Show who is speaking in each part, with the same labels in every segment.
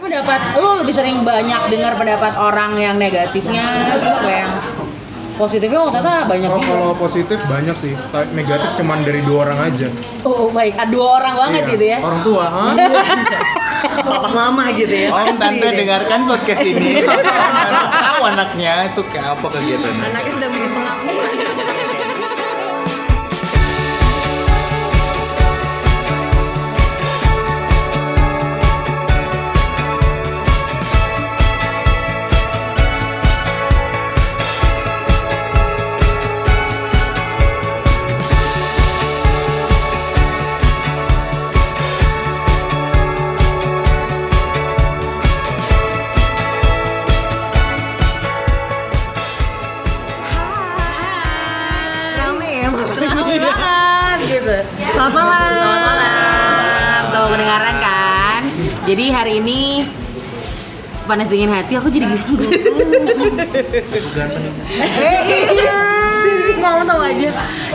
Speaker 1: pendapat lu lebih sering banyak dengar pendapat orang yang negatifnya gitu kayak yang positifnya oh ternyata banyak
Speaker 2: Oh,
Speaker 3: Iya.
Speaker 1: juga.
Speaker 2: kalau positif banyak sih, Ta- negatif cuman dari dua orang aja.
Speaker 1: Oh, baik, ada dua orang banget
Speaker 2: Iya,
Speaker 1: gitu ya.
Speaker 2: Orang tua, hah?
Speaker 3: mama gitu ya
Speaker 4: Om
Speaker 3: pasti
Speaker 4: Oh, tante
Speaker 3: Iya. deh.
Speaker 4: dengarkan podcast ini. Tahu anaknya itu kayak apa kegiatannya.
Speaker 3: anaknya sudah bikin pengakuan rame ya malam.
Speaker 1: Ramai banget gitu.
Speaker 3: selamat malam
Speaker 1: Selamat malam. Tuh kedengaran kan? Jadi hari ini panas dingin hati aku jadi gitu. mau tau aja. Iya.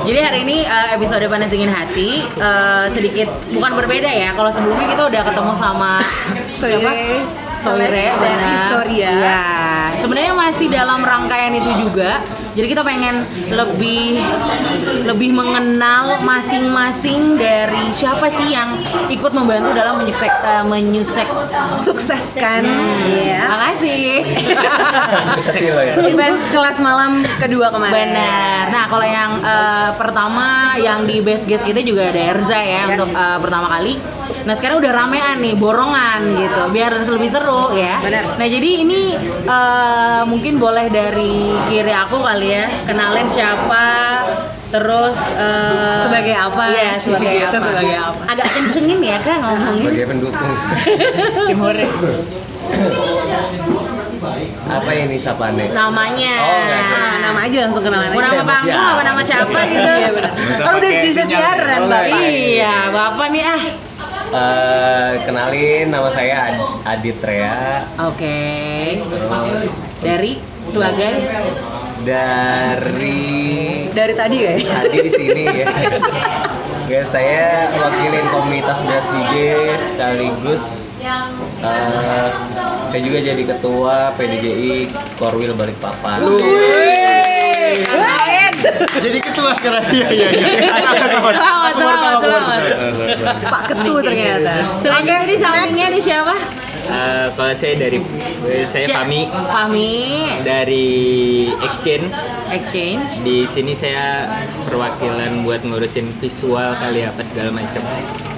Speaker 1: Jadi hari ini eh, episode panas dingin hati eh, sedikit bukan berbeda ya. Kalau sebelumnya kita udah ketemu sama
Speaker 3: Soire,
Speaker 1: siapa? Soire
Speaker 3: Alex, Eh, dan ya.
Speaker 1: benar.
Speaker 3: Historia.
Speaker 1: Iya. Sebenarnya masih dalam rangkaian itu juga. Jadi kita pengen lebih lebih mengenal masing-masing dari siapa sih yang ikut membantu dalam menyuksek eh, menyuksek.
Speaker 3: sukseskan
Speaker 1: Hmm.
Speaker 3: ya
Speaker 1: Makasih.
Speaker 4: Iya.
Speaker 3: event kelas malam kedua kemarin
Speaker 1: Benar. Nah, kalau yang eh, pertama yang di base guest kita juga ada Erza ya
Speaker 3: Yes.
Speaker 1: untuk eh, pertama kali. Nah, sekarang udah ramean nih borongan gitu biar lebih seru ya.
Speaker 3: Benar.
Speaker 1: Nah, jadi ini eh, mungkin boleh dari kiri aku kali ya. Kenalin siapa terus eh,
Speaker 3: Sebagai apa?
Speaker 1: Iya, sebagai
Speaker 3: Kita
Speaker 1: apa?
Speaker 3: sebagai apa?
Speaker 1: Agak kencengin ya Kak ngomongin.
Speaker 5: sebagai pendukung apa ini sapane
Speaker 1: Namanya.
Speaker 5: Oh, enggak, Iya, enggak.
Speaker 3: Ah, nama aja langsung kenalan
Speaker 1: Mau
Speaker 3: aja
Speaker 1: nama
Speaker 5: Siapa?
Speaker 1: panggung apa nama siapa gitu.
Speaker 3: iya benar
Speaker 4: Bisa
Speaker 3: kan udah
Speaker 4: pakai
Speaker 3: bisa
Speaker 4: sinyal.
Speaker 3: siaran
Speaker 5: Boleh.
Speaker 3: bapak
Speaker 1: Iya, Bapak nih ah.
Speaker 5: Eh, kenalin nama saya Ad- Adit Rea
Speaker 1: Oke.
Speaker 5: terus
Speaker 1: dari sebagai
Speaker 5: dari
Speaker 3: dari tadi kayak
Speaker 1: Iya.
Speaker 5: tadi di sini ya ya saya wakilin komunitas Das DJ sekaligus eh, saya juga jadi ketua PDJI Korwil Balikpapan
Speaker 3: Keren.
Speaker 4: Jadi ketua sekarang. Iya iya iya.
Speaker 1: Selamat,
Speaker 4: Aku baru tahu, aku baru
Speaker 1: selamat,
Speaker 4: tahu.
Speaker 3: Pak Ketu ternyata
Speaker 4: Iya.
Speaker 1: selanjutnya ini sampingnya nih siapa?
Speaker 6: Eh, kalau saya dari eh, saya
Speaker 1: Si-
Speaker 6: Fami
Speaker 1: Fami
Speaker 6: dari Exchange
Speaker 1: Exchange.
Speaker 6: di sini saya perwakilan buat ngurusin visual kali ya, apa segala macam.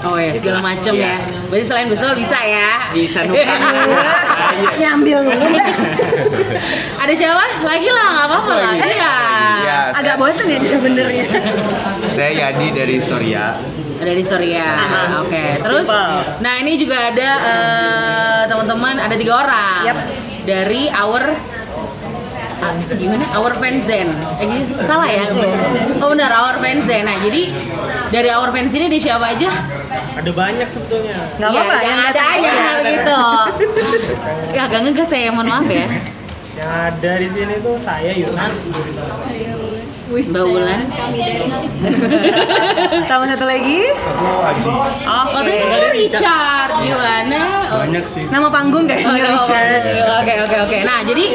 Speaker 1: Oh ya, segala macam
Speaker 6: Iya.
Speaker 1: ya. Berarti selain besok bisa ya.
Speaker 6: Bisa nuker.
Speaker 3: nyambil mulu
Speaker 4: Iya.
Speaker 1: Ada siapa? Lagi lah, nggak apa-apa lah.
Speaker 4: Lagi.
Speaker 1: Iya.
Speaker 4: Iya,
Speaker 3: agak bosan ya sebenarnya
Speaker 4: saya Yadi dari Historia.
Speaker 1: Ada di story ya. Oke, terus.
Speaker 3: Simple.
Speaker 1: Nah ini juga ada eh, teman-teman. Ada tiga orang.
Speaker 3: Yap.
Speaker 1: Dari our Ah, gimana? Our fanzen. Eh, gini, salah
Speaker 3: Iya,
Speaker 1: ya? aku ya? Oh benar, our fanzen. Nah jadi dari our fans ini di siapa aja?
Speaker 7: Ada banyak sebetulnya.
Speaker 3: nggak
Speaker 1: Iya,
Speaker 3: apa-apa
Speaker 1: yang
Speaker 3: yang
Speaker 1: ada
Speaker 3: datang
Speaker 1: aja begitu. ya agak ngegas saya, mohon maaf ya.
Speaker 7: Yang ada di sini tuh saya Yunas.
Speaker 1: Mbak Wulan.
Speaker 3: sama satu lagi
Speaker 1: Oh, itu Richard. Gimana? Oh,
Speaker 3: nama panggung kayak
Speaker 1: Oh,
Speaker 3: Iya. Richard
Speaker 1: Oke oke oke. Nah jadi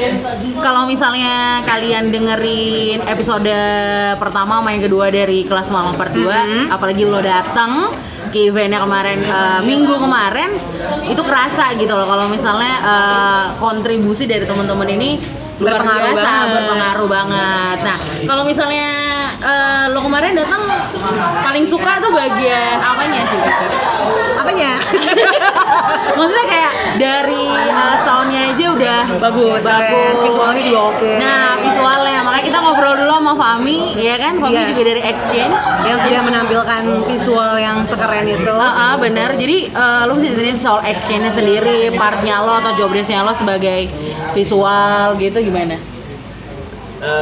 Speaker 1: kalau misalnya kalian dengerin episode pertama sama yang kedua dari kelas malam part 2
Speaker 3: Mm-hmm.
Speaker 1: apalagi lo datang ke eventnya kemarin eh, minggu kemarin itu kerasa gitu loh kalau misalnya eh, kontribusi dari teman-teman ini luar
Speaker 3: Berpengaruh
Speaker 1: biasa,
Speaker 3: banget.
Speaker 1: berpengaruh banget. Nah kalau misalnya eh, lo kemarin datang paling suka tuh bagian apanya sih?
Speaker 3: apanya
Speaker 1: maksudnya kayak dari uh, soundnya aja udah
Speaker 3: Bagus, keren. Visualnya juga oke.
Speaker 1: nah visualnya makanya kita ngobrol dulu sama Fami ya kan Fami
Speaker 3: Iya.
Speaker 1: juga dari Exchange
Speaker 3: yang sudah menampilkan visual yang sekeren itu
Speaker 1: Ah, ah, benar. Jadi eh, lo bisa ceritain soal exchange-nya sendiri, partnya lo atau job desk-nya lo sebagai visual gitu gimana?
Speaker 3: Iya,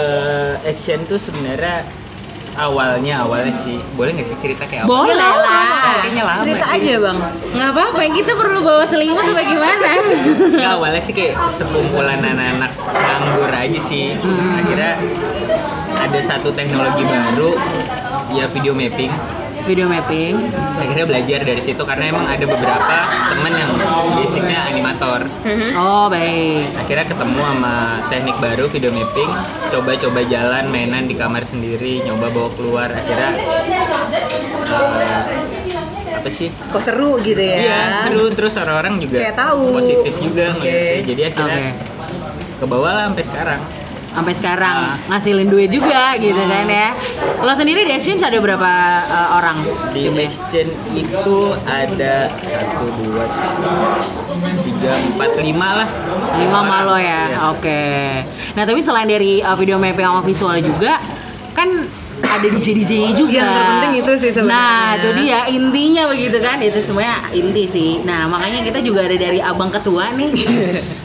Speaker 6: Eh, action tuh sebenarnya awalnya awalnya sih boleh nggak sih cerita kayak apa?
Speaker 1: Boleh
Speaker 3: Iya, lama.
Speaker 1: lah.
Speaker 6: Kayaknya lama
Speaker 3: cerita
Speaker 6: sih.
Speaker 3: aja bang
Speaker 1: Nggak apa-apa, kita perlu bawa selimut apa gimana?
Speaker 6: Nggak, awalnya sih kayak sekumpulan anak-anak nganggur aja sih. Akhirnya ada satu teknologi baru ya video mapping.
Speaker 1: video mapping.
Speaker 6: akhirnya belajar dari situ karena emang ada beberapa temen yang basicnya animator
Speaker 3: Hmm.
Speaker 1: Oh baik.
Speaker 6: akhirnya ketemu sama teknik baru video mapping coba-coba jalan mainan di kamar sendiri nyoba bawa keluar akhirnya eh, apa sih
Speaker 3: Kok seru gitu ya?
Speaker 6: Iya seru terus orang-orang juga
Speaker 3: Kayak tahu.
Speaker 6: positif juga
Speaker 3: Oke.
Speaker 6: ngeliatnya. jadi akhirnya
Speaker 1: Oke.
Speaker 6: ke bawah lah sampai sekarang
Speaker 1: Sampai sekarang
Speaker 6: Ah.
Speaker 1: ngasilin duit juga gitu kan ya. Lo sendiri di Exchange ada berapa eh, orang?
Speaker 6: di
Speaker 1: Gitu ya?
Speaker 6: exchange itu ada satu dua tiga empat lima lah
Speaker 1: lima
Speaker 6: Orang.
Speaker 1: malo ya
Speaker 6: Iya.
Speaker 1: oke nah tapi selain dari uh, video mapping sama visual juga kan ada DJ DJ juga
Speaker 3: Yang terpenting itu sih sebenarnya.
Speaker 1: nah itu dia intinya begitu kan itu semuanya inti sih nah makanya kita juga ada dari abang ketua nih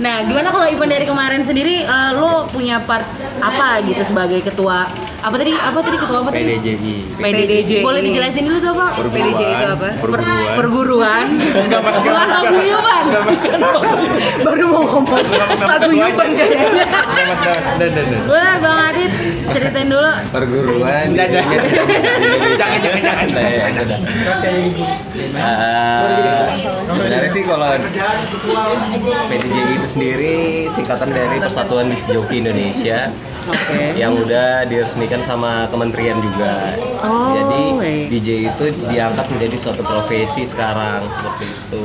Speaker 1: nah gimana kalau event dari kemarin sendiri uh, lo punya part apa gitu sebagai ketua apa tadi apa tadi ketua apa tadi
Speaker 4: PDJI
Speaker 1: PDJ. boleh dijelasin dulu tuh pak
Speaker 4: perguruan
Speaker 3: PDJI itu apa?
Speaker 4: perguruan
Speaker 1: perguruan
Speaker 2: Enggak, Mas. Enggak, Mas.
Speaker 1: bahasa guyuban
Speaker 3: Baru mau ngomong lagu Yuban kayaknya.
Speaker 4: dan dan dan
Speaker 1: boleh bang Adit ceritain dulu
Speaker 5: perguruan
Speaker 4: Dadah.
Speaker 5: jangan
Speaker 4: jangan jangan
Speaker 5: Eh, sebenarnya sih kalau PDJI itu sendiri singkatan dari Persatuan Disc Joki Indonesia
Speaker 1: oke
Speaker 5: yang udah diresmikan sama kementerian juga.
Speaker 1: Oh,
Speaker 5: Jadi
Speaker 1: baik.
Speaker 5: DJ itu diangkat menjadi suatu profesi sekarang seperti itu.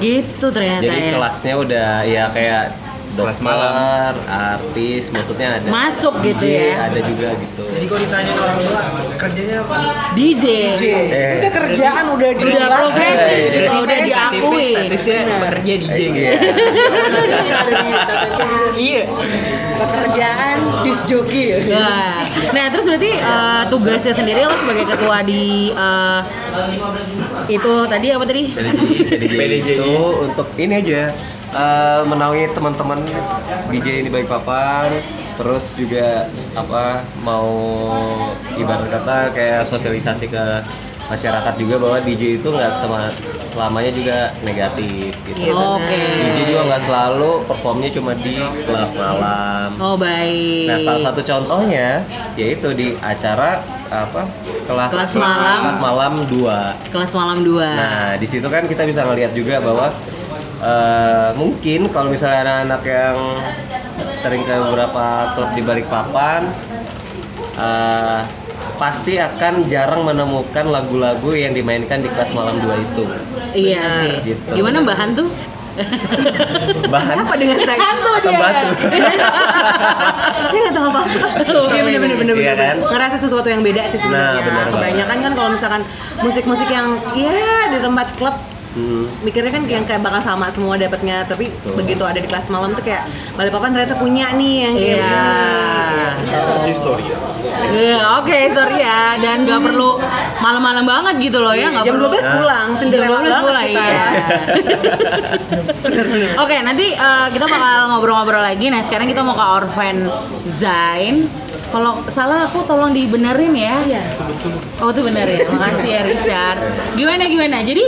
Speaker 1: gitu ternyata
Speaker 5: Jadi
Speaker 1: ya.
Speaker 5: kelasnya udah ya kayak
Speaker 4: Kelas malam.
Speaker 5: dokter, artis, maksudnya ada
Speaker 1: Masuk
Speaker 5: DJ,
Speaker 1: gitu ya.
Speaker 5: ada juga gitu.
Speaker 7: Jadi kalau ditanya orang tua kerjanya apa?
Speaker 1: DJ,
Speaker 5: Eh,
Speaker 3: Udah kerjaan udah di
Speaker 1: udah
Speaker 6: Eh,
Speaker 3: Iya,
Speaker 1: profesi gitu, udah
Speaker 6: Statisnya-
Speaker 1: diakui
Speaker 6: statisnya bekerja DJ gitu
Speaker 5: iya.
Speaker 6: iya
Speaker 3: Pekerjaan disjoki ya.
Speaker 1: Nah, nah terus berarti eh, tugasnya sendiri lo sebagai ketua di eh, itu tadi apa tadi? gitu.
Speaker 5: PDJ, itu gitu. untuk ini aja eh, menaungi teman-teman DJ ini baik papan terus juga apa mau ibarat kata kayak sosialisasi ke masyarakat juga bahwa DJ itu nggak sema- selamanya juga negatif gitu.
Speaker 1: Oke.
Speaker 5: DJ juga nggak selalu performnya cuma di klub malam.
Speaker 1: Oh baik.
Speaker 5: Nah, salah satu contohnya yaitu di acara apa kelas
Speaker 1: Kelas malam.
Speaker 5: kelas malam 2.
Speaker 1: Kelas malam 2
Speaker 5: Nah, di situ kan kita bisa ngelihat juga bahwa eh, mungkin kalau misalnya anak-anak yang sering ke beberapa klub di Balikpapan eh, pasti akan jarang menemukan lagu-lagu yang dimainkan di kelas malam 2 itu.
Speaker 1: Iya sih.
Speaker 5: gitu.
Speaker 1: Gimana Mbak Hantu?
Speaker 5: Bahan
Speaker 3: Apa dengan saya?
Speaker 1: Hantu
Speaker 5: atau batu.
Speaker 3: Saya ya. nggak tahu apa-apa. Iya bener-bener bener
Speaker 5: Iya kan?
Speaker 3: Ngerasa sesuatu yang beda sih
Speaker 5: Nah,
Speaker 3: sebenarnya.
Speaker 5: benar banget.
Speaker 3: Kebanyakan kan kalau misalkan musik-musik yang ya di tempat klub mikirnya kan kayak kayak bakal sama semua dapatnya tapi begitu ada di kelas malam tuh kayak Balikpapan ternyata punya nih yang kayak
Speaker 1: Iya.
Speaker 4: histori
Speaker 1: Iya, Oke, sorry ya. Dan nggak perlu malam-malam banget gitu loh ya. nggak
Speaker 3: jam
Speaker 1: perlu.
Speaker 3: 12 pulang Cinderella
Speaker 1: Jam 12
Speaker 3: banget
Speaker 1: mulai,
Speaker 3: kita
Speaker 1: iya. Oke, nanti eh, kita bakal ngobrol-ngobrol lagi. Nah, sekarang kita mau ke Orphan Zain. Kalau salah aku tolong dibenerin ya.
Speaker 3: Iya.
Speaker 1: Oh, itu bener ya. Makasih ya Richard. Gimana gimana? Jadi,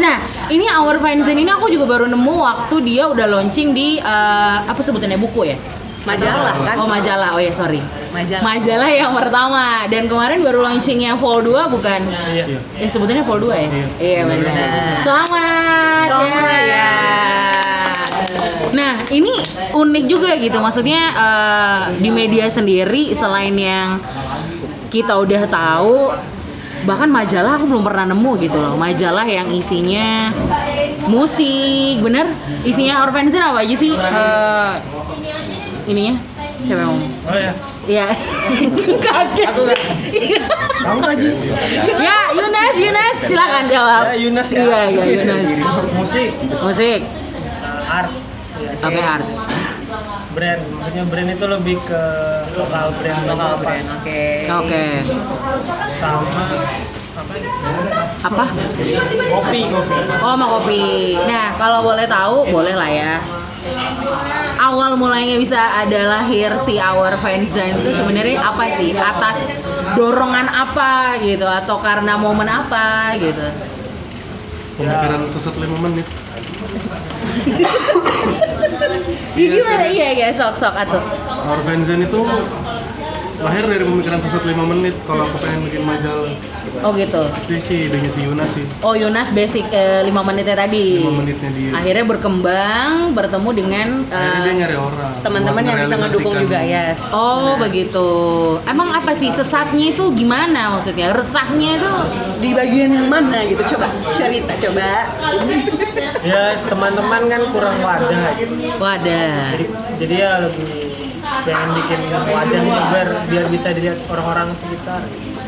Speaker 1: nah, ini Our Fine Zain ini aku juga baru nemu waktu dia udah launching di eh, apa sebutannya buku ya?
Speaker 3: majalah kan
Speaker 1: Oh majalah, oh ya sorry.
Speaker 3: Majalah.
Speaker 1: Majalah yang pertama dan kemarin baru launchingnya Vol 2 bukan? Iya. Eh sebutannya Vol 2 ya? Iya benar. Selamat.
Speaker 3: Selamat, ya.
Speaker 1: Nah ini unik juga gitu, maksudnya eh, di media sendiri selain yang kita udah tahu bahkan majalah aku belum pernah nemu gitu loh majalah yang isinya musik bener isinya orphan Zain apa aja sih Eh, ininya siapa yang ngomong?
Speaker 7: Oh ya.
Speaker 1: Iya. Kaget.
Speaker 2: Tahu lagi.
Speaker 1: Ya, Yunas, Yunas, silakan jawab.
Speaker 7: Ya, Yunas ya.
Speaker 1: Iya, iya, Yunas.
Speaker 7: Musik,
Speaker 1: Musik.
Speaker 7: art. Ya, saya
Speaker 1: Oke, art.
Speaker 7: Brand, maksudnya brand itu lebih ke lokal brand, gitu, lokal brand.
Speaker 3: oke
Speaker 1: Oke.
Speaker 7: Sama apa?
Speaker 1: Apa?
Speaker 7: Kopi, kopi.
Speaker 1: Oh, mau kopi. Nah, kalau boleh tahu, boleh lah ya. Awal mulanya bisa ada lahir si Our Fanzine itu sebenarnya apa sih? Atas dorongan apa gitu atau karena momen apa gitu?
Speaker 8: pemikiran sesat lima menit
Speaker 1: Gimana iya ya sok-sok atuh.
Speaker 8: Our Benzen itu lahir dari pemikiran sesat 5 menit kalau aku pengen bikin majalah
Speaker 1: Oh gitu.
Speaker 8: itu sih idenya si Yuna sih
Speaker 1: Oh Yunas basic eh, lima menitnya tadi.
Speaker 8: 5 menitnya dia
Speaker 1: Akhirnya berkembang bertemu dengan
Speaker 8: akhirnya
Speaker 1: eh,
Speaker 8: dia nyari orang
Speaker 3: teman-teman
Speaker 8: buat
Speaker 3: yang bisa ngedukung
Speaker 8: ngerealisasikan.
Speaker 3: juga ya?
Speaker 2: Iya.
Speaker 3: yes
Speaker 1: Oh begitu. Emang apa sih sesatnya itu gimana maksudnya? Resahnya itu
Speaker 3: di bagian yang mana gitu coba cerita coba
Speaker 7: ya teman-teman kan kurang wadah gitu.
Speaker 1: wadah.
Speaker 7: jadi, jadi ya lebih pengen bikin wadah nih biar biar bisa dilihat orang-orang sekitar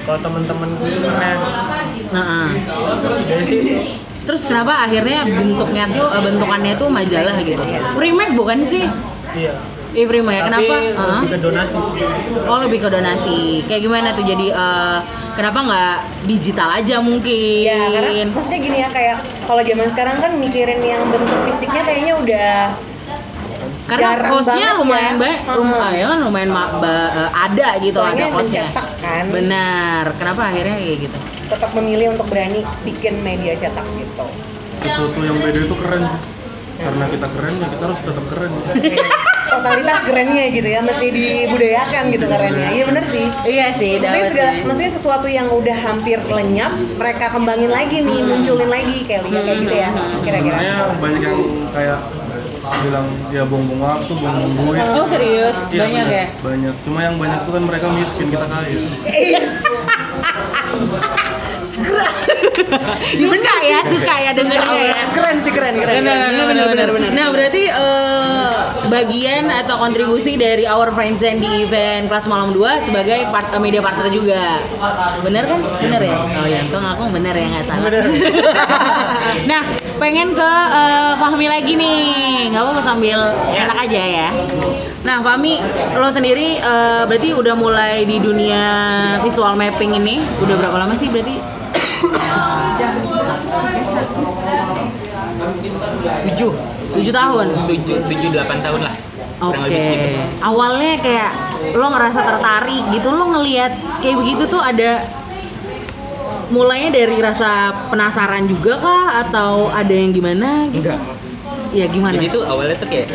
Speaker 7: kalau teman-teman gue keren
Speaker 1: Nah,
Speaker 7: jadi sih
Speaker 1: terus kenapa akhirnya bentuknya tuh eh, bentukannya tuh majalah gitu? Remake bukan sih?
Speaker 7: iya
Speaker 1: Ih, remake.
Speaker 7: tapi
Speaker 1: Kenapa? Heeh.
Speaker 7: lebih ke donasi sih
Speaker 1: Oh lebih ke donasi. Kayak gimana tuh? Jadi eh, kenapa nggak digital aja mungkin?
Speaker 3: ya karena maksudnya gini ya kayak kalau zaman sekarang kan mikirin yang bentuk fisiknya kayaknya udah
Speaker 1: Karena
Speaker 3: jarang
Speaker 1: costnya
Speaker 3: banget ya.
Speaker 1: lumayan baik,
Speaker 3: Heeh.
Speaker 1: rumah ya kan lumayan ma- ba- eh, ada gitu
Speaker 3: Soalnya
Speaker 1: ada costnya.
Speaker 3: mencetak kan.
Speaker 1: Benar. Kenapa akhirnya kayak gitu?
Speaker 3: tetap memilih untuk berani bikin media cetak gitu
Speaker 8: sesuatu yang beda itu keren sih karena kita keren ya kita harus tetap keren
Speaker 3: totalitas kerennya gitu ya mesti dibudayakan gitu kerennya iya bener sih
Speaker 1: Iya sih.
Speaker 3: Maksudnya,
Speaker 1: dapat
Speaker 3: segala-
Speaker 1: sih.
Speaker 3: maksudnya sesuatu yang udah hampir lenyap, mereka kembangin lagi nih, munculin lagi kayak lihat kayak gitu ya, kira-kira.
Speaker 8: makanya banyak yang kayak bilang ya buang-buang waktu buang-buang duit
Speaker 1: Oh serius?
Speaker 8: Iya,
Speaker 1: Banyak ya?
Speaker 8: banyak cuma yang banyak tuh kan mereka miskin kita kaya
Speaker 1: Suka ya, suka ya dengernya ya.
Speaker 3: Keren sih keren keren. keren.
Speaker 1: Nah berarti eh, bagian atau kontribusi dari Our Friends and di event kelas malam 2 sebagai part- eh, media partner juga. Bener kan? Bener ya? Oh ya, kau ngaku bener ya nggak salah. nah pengen ke eh, Fahmi lagi nih, nggak apa-apa sambil enak aja ya. Nah Fahmi, lo sendiri eh, berarti udah mulai di dunia visual mapping ini udah berapa lama sih berarti?
Speaker 6: tujuh
Speaker 1: Tujuh tahun.
Speaker 6: tujuh tujuh delapan tahun lah kurang
Speaker 1: Oke.
Speaker 6: lebih segitu
Speaker 1: Awalnya kayak lo ngerasa tertarik gitu, lo ngelihat kayak begitu tuh ada mulainya dari rasa penasaran juga kah atau ada yang gimana? gitu?
Speaker 6: enggak
Speaker 1: Ya gimana?
Speaker 6: jadi tuh awalnya tuh kayak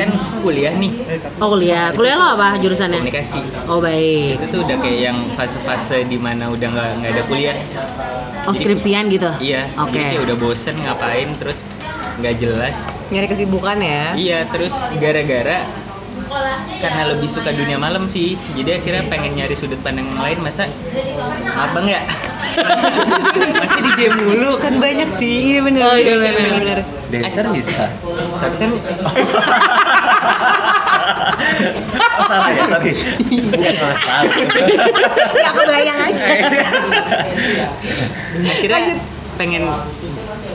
Speaker 6: kan kuliah nih
Speaker 1: Oh kuliah, kuliah lo apa jurusannya?
Speaker 6: komunikasi
Speaker 1: Oh baik.
Speaker 6: itu tuh udah kayak yang fase-fase dimana udah nggak nggak ada kuliah
Speaker 1: Oh skripsian gitu?
Speaker 6: iya
Speaker 1: Oke.
Speaker 6: jadi kayak udah bosen ngapain terus nggak jelas
Speaker 3: Nyari kesibukan ya.
Speaker 6: Iya, terus gara-gara karena lebih suka dunia malam sih, jadi akhirnya pengen nyari sudut pandang yang lain masa abang ya masih di game mulu kan banyak sih. Iya benar.
Speaker 1: Oh, iya, bener, bener.
Speaker 6: Dancer bisa, tapi kan
Speaker 5: Oh, salah ya, sorry. Bukan salah tahu.
Speaker 3: Gak kebayang aja.
Speaker 6: akhirnya pengen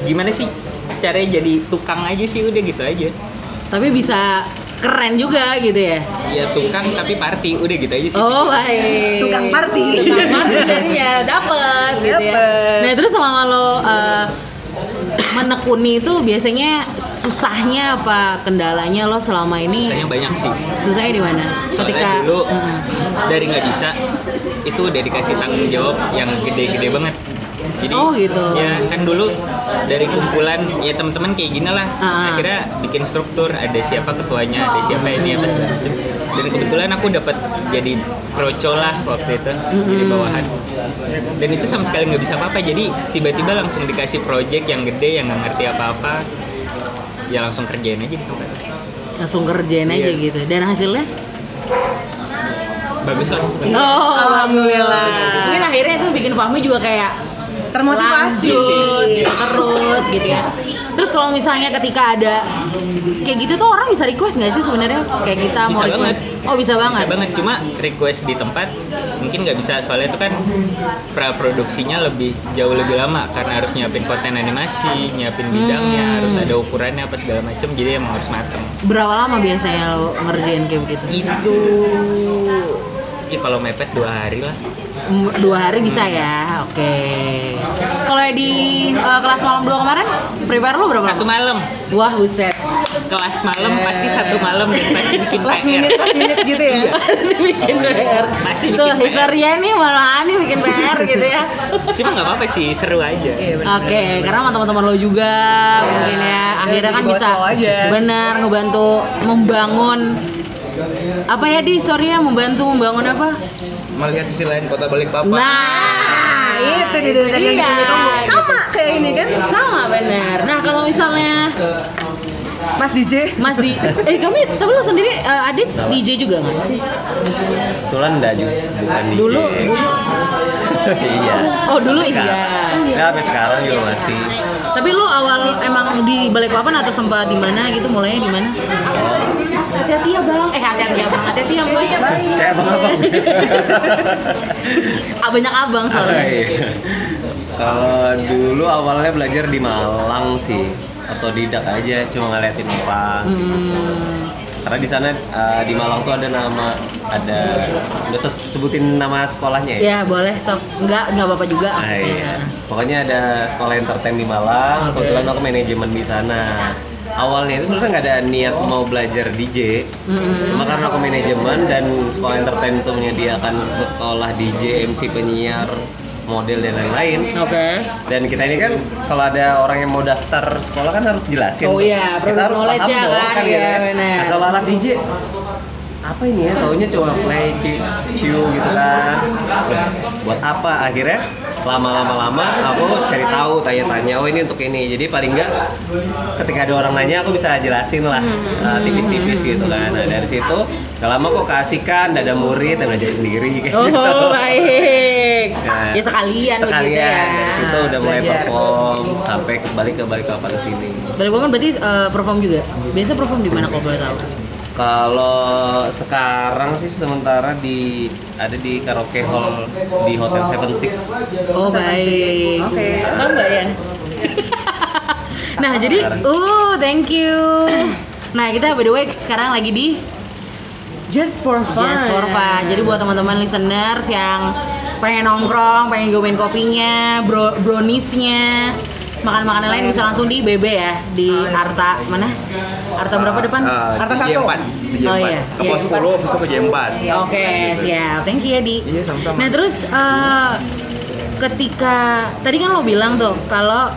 Speaker 6: gimana sih caranya jadi tukang aja sih udah gitu aja.
Speaker 1: Tapi bisa keren juga gitu ya?
Speaker 6: Ya tukang tapi party udah gitu aja sih.
Speaker 1: Oh baik.
Speaker 3: Tukang party.
Speaker 1: Tukang party jadinya dapat gitu ya.
Speaker 3: Dapet.
Speaker 1: Nah terus selama lo uh, menekuni itu biasanya susahnya apa kendalanya lo selama ini?
Speaker 6: Misalnya banyak sih.
Speaker 1: Susahnya di mana? Ketika
Speaker 6: Soalnya dulu
Speaker 1: Mm-mm.
Speaker 6: dari nggak bisa itu udah dikasih tanggung jawab yang gede-gede banget. Jadi,
Speaker 1: Oh, gitu.
Speaker 6: Ya kan dulu dari kumpulan ya teman-teman kayak gini lah.
Speaker 1: Ah.
Speaker 6: Akhirnya bikin struktur ada siapa ketuanya, ada siapa ini apa segala macam. Dan kebetulan aku dapat jadi kroco lah waktu itu jadi bawahan. Dan itu sama sekali nggak bisa apa-apa. Jadi tiba-tiba langsung dikasih project yang gede yang nggak ngerti apa-apa. Ya langsung kerjain aja di tempat.
Speaker 1: langsung kerjain aja
Speaker 6: Iya.
Speaker 1: gitu. Dan hasilnya?
Speaker 6: Bagus lah.
Speaker 1: Oh,
Speaker 3: Alhamdulillah.
Speaker 1: Mungkin akhirnya itu bikin Fahmi juga kayak
Speaker 3: Termotivasi.
Speaker 1: lanjut gitu, terus gitu ya terus kalau misalnya ketika ada kayak gitu tuh orang bisa request nggak sih sebenarnya kayak kita
Speaker 6: bisa
Speaker 1: mau
Speaker 6: banget
Speaker 1: request oh bisa banget
Speaker 6: bisa banget cuma request di tempat mungkin nggak bisa soalnya itu kan pra produksinya lebih jauh lebih lama karena harus nyiapin konten animasi nyiapin bidangnya
Speaker 1: Hmm.
Speaker 6: harus ada ukurannya apa segala macam jadi emang harus mateng
Speaker 1: berapa lama biasanya lo ngerjain kayak begitu
Speaker 6: itu ya kalau mepet dua hari lah
Speaker 1: M- dua hari bisa ya oke kalau di eh, kelas malam dua kemarin prepare lo berapa
Speaker 6: satu
Speaker 1: lama? Eh.
Speaker 6: malam
Speaker 1: wah buset
Speaker 6: kelas malam pasti satu malam dan pasti bikin
Speaker 3: Last
Speaker 6: PR
Speaker 3: minute, last minute gitu ya.
Speaker 1: bikin PR
Speaker 6: Pasti bikin
Speaker 1: tuh
Speaker 6: PR.
Speaker 1: historia nih malah nih bikin PR gitu ya
Speaker 6: cuma nggak apa-apa sih seru aja
Speaker 1: Oke, karena sama teman-teman lo juga mungkin ya akhirnya
Speaker 3: jadi
Speaker 1: kan
Speaker 3: bos
Speaker 1: bisa
Speaker 3: lo Iya, aja.
Speaker 1: benar ngebantu membangun apa ya di sorry ya membantu membangun apa?
Speaker 4: Melihat sisi lain kota Balikpapan.
Speaker 1: Nah,
Speaker 3: itu dia dari tadi
Speaker 1: Iya.
Speaker 3: yang ditunggu-tunggu. Sama kayak ini kan
Speaker 1: sama benar. Nah kalau misalnya
Speaker 3: Mas DJ
Speaker 1: Mas di, eh kami tapi lo sendiri eh, Adit DJ juga nggak sih?
Speaker 5: Kebetulan enggak juga bukan DJ.
Speaker 1: Dulu,
Speaker 5: iya.
Speaker 1: Oh dulu
Speaker 5: Sekarang-
Speaker 1: iya.
Speaker 5: Enggak, sampai sekarang juga masih.
Speaker 1: Tapi lu awal emang di Balikpapan atau sempat di mana gitu mulainya di mana? Hati-hati ya bang, eh hati-hati ya bang, hati-hati ya bang.
Speaker 5: Kayak abang-abang.
Speaker 1: Ah, banyak abang
Speaker 5: Ah,
Speaker 1: soalnya.
Speaker 5: iya. Kalau dulu awalnya belajar di Malang sih, otodidak aja, cuma ngeliatin orang. gitu. Karena di sana eh, di Malang tuh ada nama, ada udah ses- sebutin nama sekolahnya ya.
Speaker 1: Ya boleh, sok enggak enggak apa-apa juga.
Speaker 5: Ah, iya. Pokoknya ada sekolah entertain di Malang, kebetulan aku manajemen di sana. Awalnya itu sebenarnya nggak ada niat mau belajar DJ, cuma karena aku manajemen dan sekolah entertain itu menyediakan sekolah DJ, MC penyiar, model dan lain-lain.
Speaker 1: Oke.
Speaker 5: Dan kita ini kan kalau ada orang yang mau daftar sekolah kan harus jelasin.
Speaker 1: Oh
Speaker 5: tuh.
Speaker 1: iya,
Speaker 5: kita
Speaker 1: produk
Speaker 5: harus paham
Speaker 1: knowledge-nya
Speaker 5: dong
Speaker 1: kan,
Speaker 5: kan,
Speaker 1: iya,
Speaker 5: gitu kan.
Speaker 1: benar.
Speaker 5: Nah, kalau alat DJ apa ini ya? Taunya cuma play, ci- ciu gitu kan. Buat apa? Akhirnya lama-lama lama aku cari tahu tanya-tanya oh ini untuk ini jadi paling enggak ketika ada orang nanya aku bisa jelasin lah
Speaker 1: Hmm.
Speaker 5: eh, tipis-tipis gitu kan nah dari situ gak lama kok keasikan ada murid dan belajar sendiri
Speaker 1: Oh
Speaker 5: kayak gitu
Speaker 1: baik.
Speaker 5: Nah,
Speaker 1: Ya sekalian, begitu ya.
Speaker 5: dari situ udah mulai perform sampai balik ke balik ke sini
Speaker 1: Balikpapan berarti eh, perform juga. Biasa perform di mana kalau boleh tahu?
Speaker 5: kalau sekarang sih sementara di ada di karaoke hall di hotel Seven Six
Speaker 1: Oh baik.
Speaker 3: Oke.
Speaker 1: Tambah ya. nah jadi, uh, thank you. Nah kita by the way sekarang lagi di
Speaker 3: Just for fun
Speaker 1: Just for Fun. Jadi buat teman-teman listeners yang pengen nongkrong, pengen gomain kopinya, bro browniesnya, makan-makanan lain bisa langsung di BB ya di Arta mana? Arta berapa depan?
Speaker 4: Ah,
Speaker 3: Arta
Speaker 4: DJ
Speaker 3: satu.
Speaker 4: 4, DJ
Speaker 1: Oh,
Speaker 4: 4.
Speaker 1: iya.
Speaker 4: Ke pos
Speaker 1: Iya.
Speaker 4: 10, habis itu ke DJ 4.
Speaker 1: Oke, siap. Thank you ya, Di.
Speaker 4: Iya, sama-sama.
Speaker 1: Nah, terus eh, ketika tadi kan lo bilang tuh kalau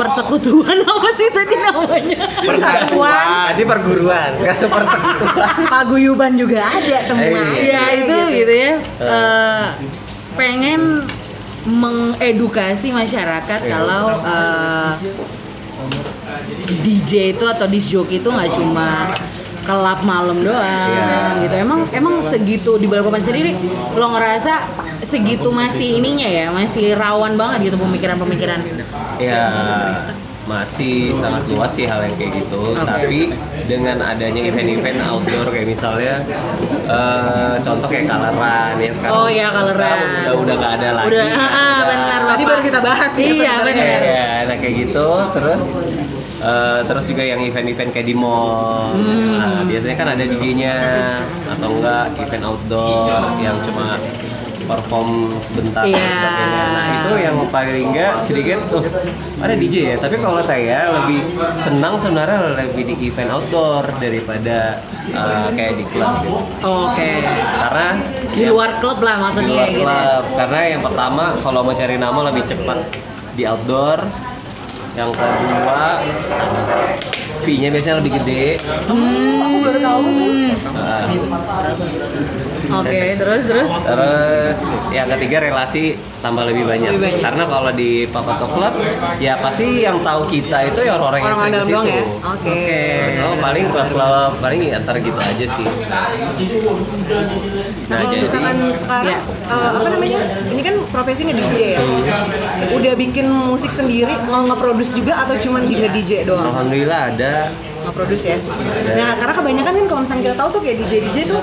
Speaker 1: persekutuan apa sih tadi namanya?
Speaker 4: Persatuan.
Speaker 5: tadi perguruan sekarang persekutuan
Speaker 3: Paguyuban juga ada semua
Speaker 1: Iya, itu
Speaker 3: Gitu.
Speaker 1: gitu ya. Eh, pengen mengedukasi masyarakat
Speaker 3: Iya.
Speaker 1: kalau eh, DJ itu atau disc jockey itu nggak cuma kelap malam doang
Speaker 3: Iya.
Speaker 1: gitu. Emang emang segitu di Balikpapan sendiri lo ngerasa segitu masih ininya ya, masih rawan banget gitu pemikiran-pemikiran.
Speaker 5: ya masih sangat luas sih hal yang kayak gitu tapi dengan adanya event-event outdoor kayak misalnya eh, contoh kayak kaleran yang sekarang
Speaker 1: Oh iya, kaleran.
Speaker 5: sekarang udah udah nggak ada lagi
Speaker 1: Udah, ah, ah,
Speaker 5: Udah-
Speaker 1: benar
Speaker 3: Tadi
Speaker 1: Bapak.
Speaker 3: baru kita bahas ya
Speaker 1: Iya,
Speaker 3: sebenarnya.
Speaker 1: benar.
Speaker 5: Ya, nah kayak gitu. Terus eh, terus juga yang event-event kayak di mall.
Speaker 1: Hmm.
Speaker 5: Nah, biasanya kan ada DJ-nya atau enggak event outdoor yang cuma perform sebentar dan
Speaker 1: Iya.
Speaker 5: sebagainya. Nah, itu yang paling enggak sedikit tuh ada DJ ya. Tapi kalau saya lebih senang sebenarnya lebih di event outdoor daripada eh, kayak di klub gitu.
Speaker 1: Oke.
Speaker 5: Karena
Speaker 1: Di
Speaker 5: ya,
Speaker 1: luar klub lah
Speaker 5: di
Speaker 1: maksudnya
Speaker 5: luar
Speaker 1: gitu.
Speaker 5: klub karena yang pertama kalau mau cari nama lebih cepat di outdoor yang kedua fee-nya biasanya lebih gede Nah,
Speaker 1: Oke, terus terus.
Speaker 5: terus yang ketiga relasi tambah lebih banyak, karena kalau di Papato Club ya pasti yang tahu kita itu ya orang-orang yang
Speaker 3: Orang
Speaker 5: sering
Speaker 3: dalam
Speaker 5: ke
Speaker 3: doang
Speaker 5: situ
Speaker 3: ya Oke
Speaker 5: Oh, paling klub-klub paling ya, antar gitu aja sih nah
Speaker 3: Kalau
Speaker 5: jadi
Speaker 3: misalkan sekarang
Speaker 1: Iya.
Speaker 3: eh, apa namanya? Ini kan profesinya DJ ya. Udah bikin musik sendiri, mau nge-produce juga atau cuman gila DJ doang?
Speaker 5: alhamdulillah ada
Speaker 3: Nge-produce ya.
Speaker 1: Iya.
Speaker 3: Nah, karena kebanyakan kan kalau misalnya kita tahu tuh kayak DJ DJ tuh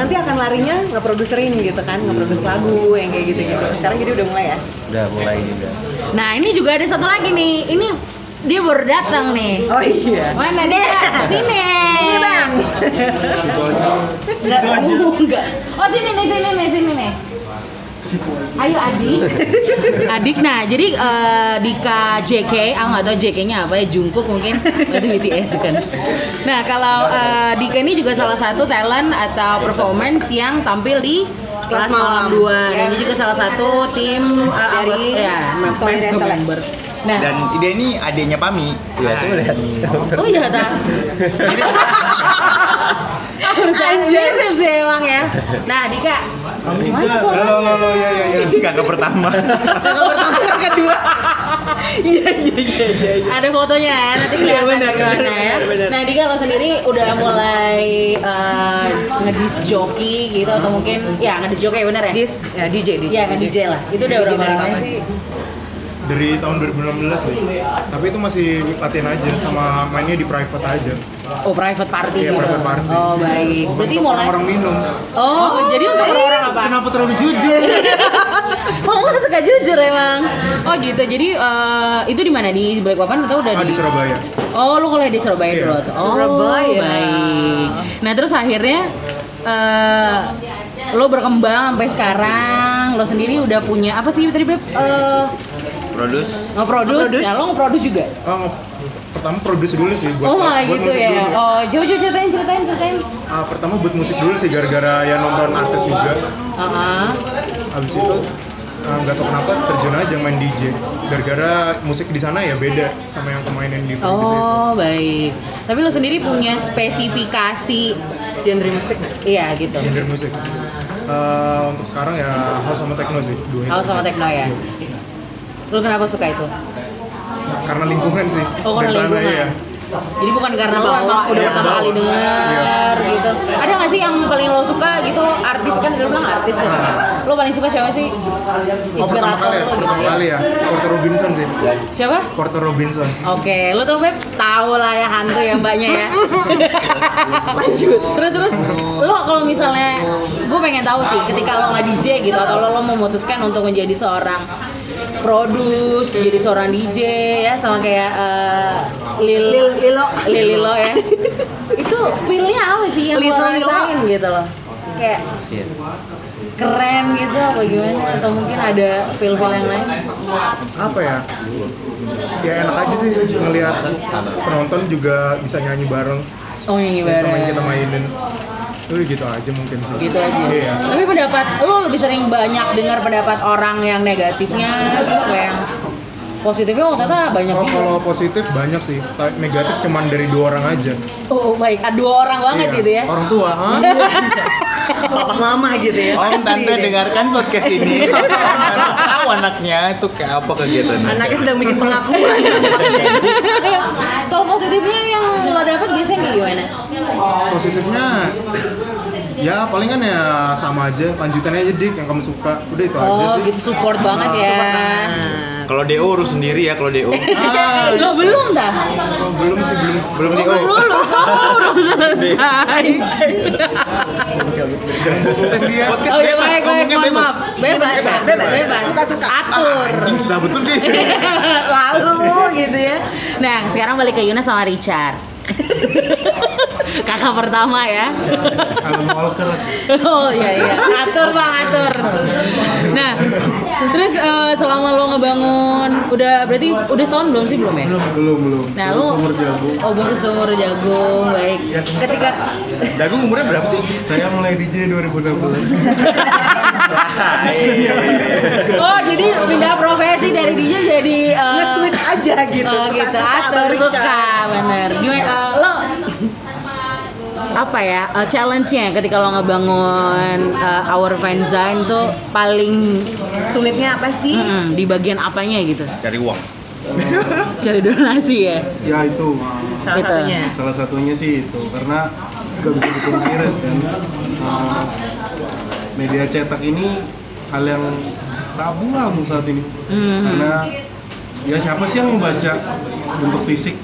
Speaker 3: nanti akan larinya nge-producerin gitu kan, nge-produce lagu yang kayak gitu-gitu. Sekarang jadi udah mulai ya.
Speaker 5: udah mulai juga
Speaker 1: Nah, ini juga ada satu lagi nih. Ini dia baru datang nih.
Speaker 3: Oh iya.
Speaker 1: Mana dia? Sini.
Speaker 3: Ini bang.
Speaker 1: Enggak, uh, enggak. Oh, sini nih, sini nih, sini nih. Ayo Adik. Adik nah, jadi eh, Dika JK, aku nggak tahu JK-nya apa ya, Jungkook mungkin. Itu BTS kan. Nah, kalau eh, Dika ini juga salah satu talent atau performance yang tampil di kelas
Speaker 3: Kelas
Speaker 1: malam 2
Speaker 3: malam.
Speaker 1: dan
Speaker 3: Yes.
Speaker 1: dia juga salah satu tim eh,
Speaker 3: Dari
Speaker 1: anggota- ya,
Speaker 3: Soy
Speaker 1: member.
Speaker 3: Reselect.
Speaker 1: Nah,
Speaker 4: Dan dia ini adiknya
Speaker 6: Iya,
Speaker 4: Pami.
Speaker 1: iya,
Speaker 5: ya tuh lihat
Speaker 1: Oh iya tak? Anjir sih emang ya. Nah, Dika,
Speaker 8: Kamu juga.
Speaker 2: Lo lo lo
Speaker 4: iya,
Speaker 2: ya ya ya.
Speaker 4: Kakak pertama.
Speaker 3: Kakak pertama, kakak kedua.
Speaker 7: Iya iya iya iya.
Speaker 1: ada fotonya ya, nanti kelihatan bagaimana ya. Nah, Dika lo sendiri udah mulai eh, ngedis joki gitu atau mungkin ya ngedis joki bener ya?
Speaker 3: Dis, ya DJ, DJ.
Speaker 1: Iya, nge-DJ lah. Itu udah berapa
Speaker 3: dari
Speaker 1: lama
Speaker 3: kapan?
Speaker 1: sih?
Speaker 2: Dari tahun 2016 nih.
Speaker 4: Iya.
Speaker 2: Tapi itu masih latihan aja sama mainnya di private aja.
Speaker 1: Oh, private party
Speaker 2: Iya,
Speaker 1: gitu.
Speaker 2: private party. Iya.
Speaker 1: Oh, baik. Berarti
Speaker 2: Untuk
Speaker 1: mulai
Speaker 2: orang minum.
Speaker 1: Oh, jadi untuk orang-orang apa?
Speaker 7: Iya,
Speaker 4: Kenapa terlalu jujur?
Speaker 1: Iya. Kamu nggak suka jujur emang. Oh gitu. Jadi eh, itu di mana di Balikpapan atau udah
Speaker 2: Ah, di Surabaya.
Speaker 1: Oh, lu kuliah di Surabaya
Speaker 2: Iya.
Speaker 1: dulu. tuh. Oh,
Speaker 3: Surabaya.
Speaker 1: Baik. Nah, terus akhirnya eh lo berkembang sampai sekarang. Lo sendiri udah punya apa sih tadi Beb? Eh,
Speaker 4: Produs.
Speaker 1: nge-produce.
Speaker 3: Nge-produce.
Speaker 1: Nah, lo nge-produce juga.
Speaker 2: Oh, nge- pertama produce dulu sih buat
Speaker 1: oh, malah
Speaker 2: buat
Speaker 1: gitu
Speaker 2: musik
Speaker 1: ya.
Speaker 2: dulu.
Speaker 1: Oh, jauh-jauh ceritain, ceritain, ceritain.
Speaker 2: Ah, pertama buat musik dulu sih gara-gara ya nonton artis juga.
Speaker 1: Heeh.
Speaker 2: Abis itu ah, nggak tahu kenapa terjun aja main DJ. Gara-gara musik di sana ya beda sama yang kemainin di produce itu.
Speaker 1: Oh, baik. Tapi lo sendiri punya spesifikasi
Speaker 3: Genre musik.
Speaker 1: iya gitu.
Speaker 2: Genre musik. Eh, untuk sekarang ya house sama techno sih dua itu.
Speaker 1: House sama Tekno ya. Lo kenapa suka itu?
Speaker 2: karena lingkungan sih
Speaker 1: Oh karena
Speaker 2: Dari sana,
Speaker 1: lingkungan.
Speaker 2: iya.
Speaker 1: Jadi bukan karena lo emang udah
Speaker 2: Iya,
Speaker 1: pertama
Speaker 2: bawa. Iya.
Speaker 1: kali denger gitu. Ada nggak sih yang paling lo suka gitu artis kan tadi lo bilang artis ya. Lo paling suka siapa sih?
Speaker 2: Nah. oh
Speaker 1: Inspirator
Speaker 2: pertama kali
Speaker 1: lo
Speaker 2: ya
Speaker 1: gitu.
Speaker 2: pertama
Speaker 1: ya.
Speaker 2: kali ya Porter Robinson sih
Speaker 1: Siapa?
Speaker 2: Porter Robinson
Speaker 1: Oke, lo tuh Beb tahu lah ya hantu ya mbaknya ya. Lanjut. Terus terus lo kalau misalnya gue pengen tahu sih ketika lo nggak DJ gitu atau lo, lo memutuskan untuk menjadi seorang produs, jadi seorang DJ ya sama kayak eh, Lil
Speaker 3: Lil- Lilo.
Speaker 1: Lililo ya. Itu feel-nya apa sih yang lo
Speaker 3: Little Lilo.
Speaker 1: rasain gitu loh? Kayak
Speaker 5: Iya.
Speaker 1: keren gitu apa gimana atau mungkin ada feel-feel yang lain?
Speaker 2: apa ya ya enak aja sih ngelihat penonton juga bisa nyanyi bareng
Speaker 1: Oh yang
Speaker 2: sama yang
Speaker 1: ibarat.
Speaker 2: kita mainin Udah gitu aja mungkin sih
Speaker 1: gitu aja.
Speaker 2: iya
Speaker 1: Tapi pendapat lo lebih sering banyak dengar pendapat orang yang negatifnya gitu apa yang positifnya oh ternyata banyak
Speaker 2: Oh,
Speaker 1: juga.
Speaker 2: kalau positif banyak sih, tapi negatif cuman dari dua orang aja.
Speaker 1: Oh baik, ada dua orang banget
Speaker 2: Iya.
Speaker 1: gitu ya.
Speaker 2: Orang tua, ah.
Speaker 3: Papa mama gitu
Speaker 1: Oh,
Speaker 3: ya.
Speaker 4: Om
Speaker 3: Pasti
Speaker 4: tante
Speaker 3: deh.
Speaker 4: dengarkan podcast ini. Tahu anaknya itu kayak apa kegiatannya?
Speaker 3: Anaknya sedang bikin pengakuan.
Speaker 1: kalau positifnya yang lo dapat biasanya kayak gimana?
Speaker 2: positifnya ya palingan ya sama aja lanjutannya aja dik yang kamu suka udah itu aja
Speaker 1: Oh
Speaker 2: sih
Speaker 1: gitu support banget ya.
Speaker 4: Kalau DO urus sendiri ya kalau DO.
Speaker 1: Lo belum dah?
Speaker 2: Oh, Ah, belum sih belum
Speaker 4: Belum DO.
Speaker 1: Belum lulus, oh, belum selesai.
Speaker 2: jangan bohongin dia
Speaker 4: Podcast
Speaker 1: Oh ya
Speaker 4: bebas,
Speaker 1: baik baik,
Speaker 4: ngomongnya
Speaker 1: mohon
Speaker 4: bebas.
Speaker 1: maaf. Bebas, Kak. bebas, bebas. Atur.
Speaker 4: Anjing susah betul deh.
Speaker 1: lalu gitu ya. Nah sekarang balik ke Yuna sama Richard. Kakak pertama ya.
Speaker 8: Alan Walker.
Speaker 1: Oh iya iya. Atur bang atur. Nah terus eh, selama lo ngebangun udah berarti udah setahun belum sih belum ya?
Speaker 8: Belum belum belum.
Speaker 1: Nah
Speaker 8: Baru
Speaker 1: lo
Speaker 8: seumur jagung. Iya.
Speaker 1: Oh baru seumur jagung baik. Ketika
Speaker 4: Jagung umurnya berapa sih?
Speaker 8: Saya mulai DJ 2016.
Speaker 1: oh jadi pindah profesi dari dia jadi eh,
Speaker 3: Nge-switch aja gitu.
Speaker 1: Oh gitu,
Speaker 3: Suka-suka atau
Speaker 1: atur
Speaker 3: Richard.
Speaker 1: suka, bener. Gimana eh, lo apa ya eh, challenge-nya ketika lo ngebangun eh, Our Fanzine tuh paling
Speaker 3: Sulitnya apa sih?
Speaker 1: mm, di bagian apanya gitu?
Speaker 4: Cari uang.
Speaker 1: Cari donasi ya.
Speaker 8: ya itu.
Speaker 3: Salah
Speaker 1: Gitu.
Speaker 3: satunya.
Speaker 8: Salah satunya sih itu karena nggak bisa dipungkiri kan. Uh, media cetak ini hal yang tabu lah untuk saat ini.
Speaker 1: Hmm.
Speaker 8: Karena ya siapa sih yang membaca bentuk fisik?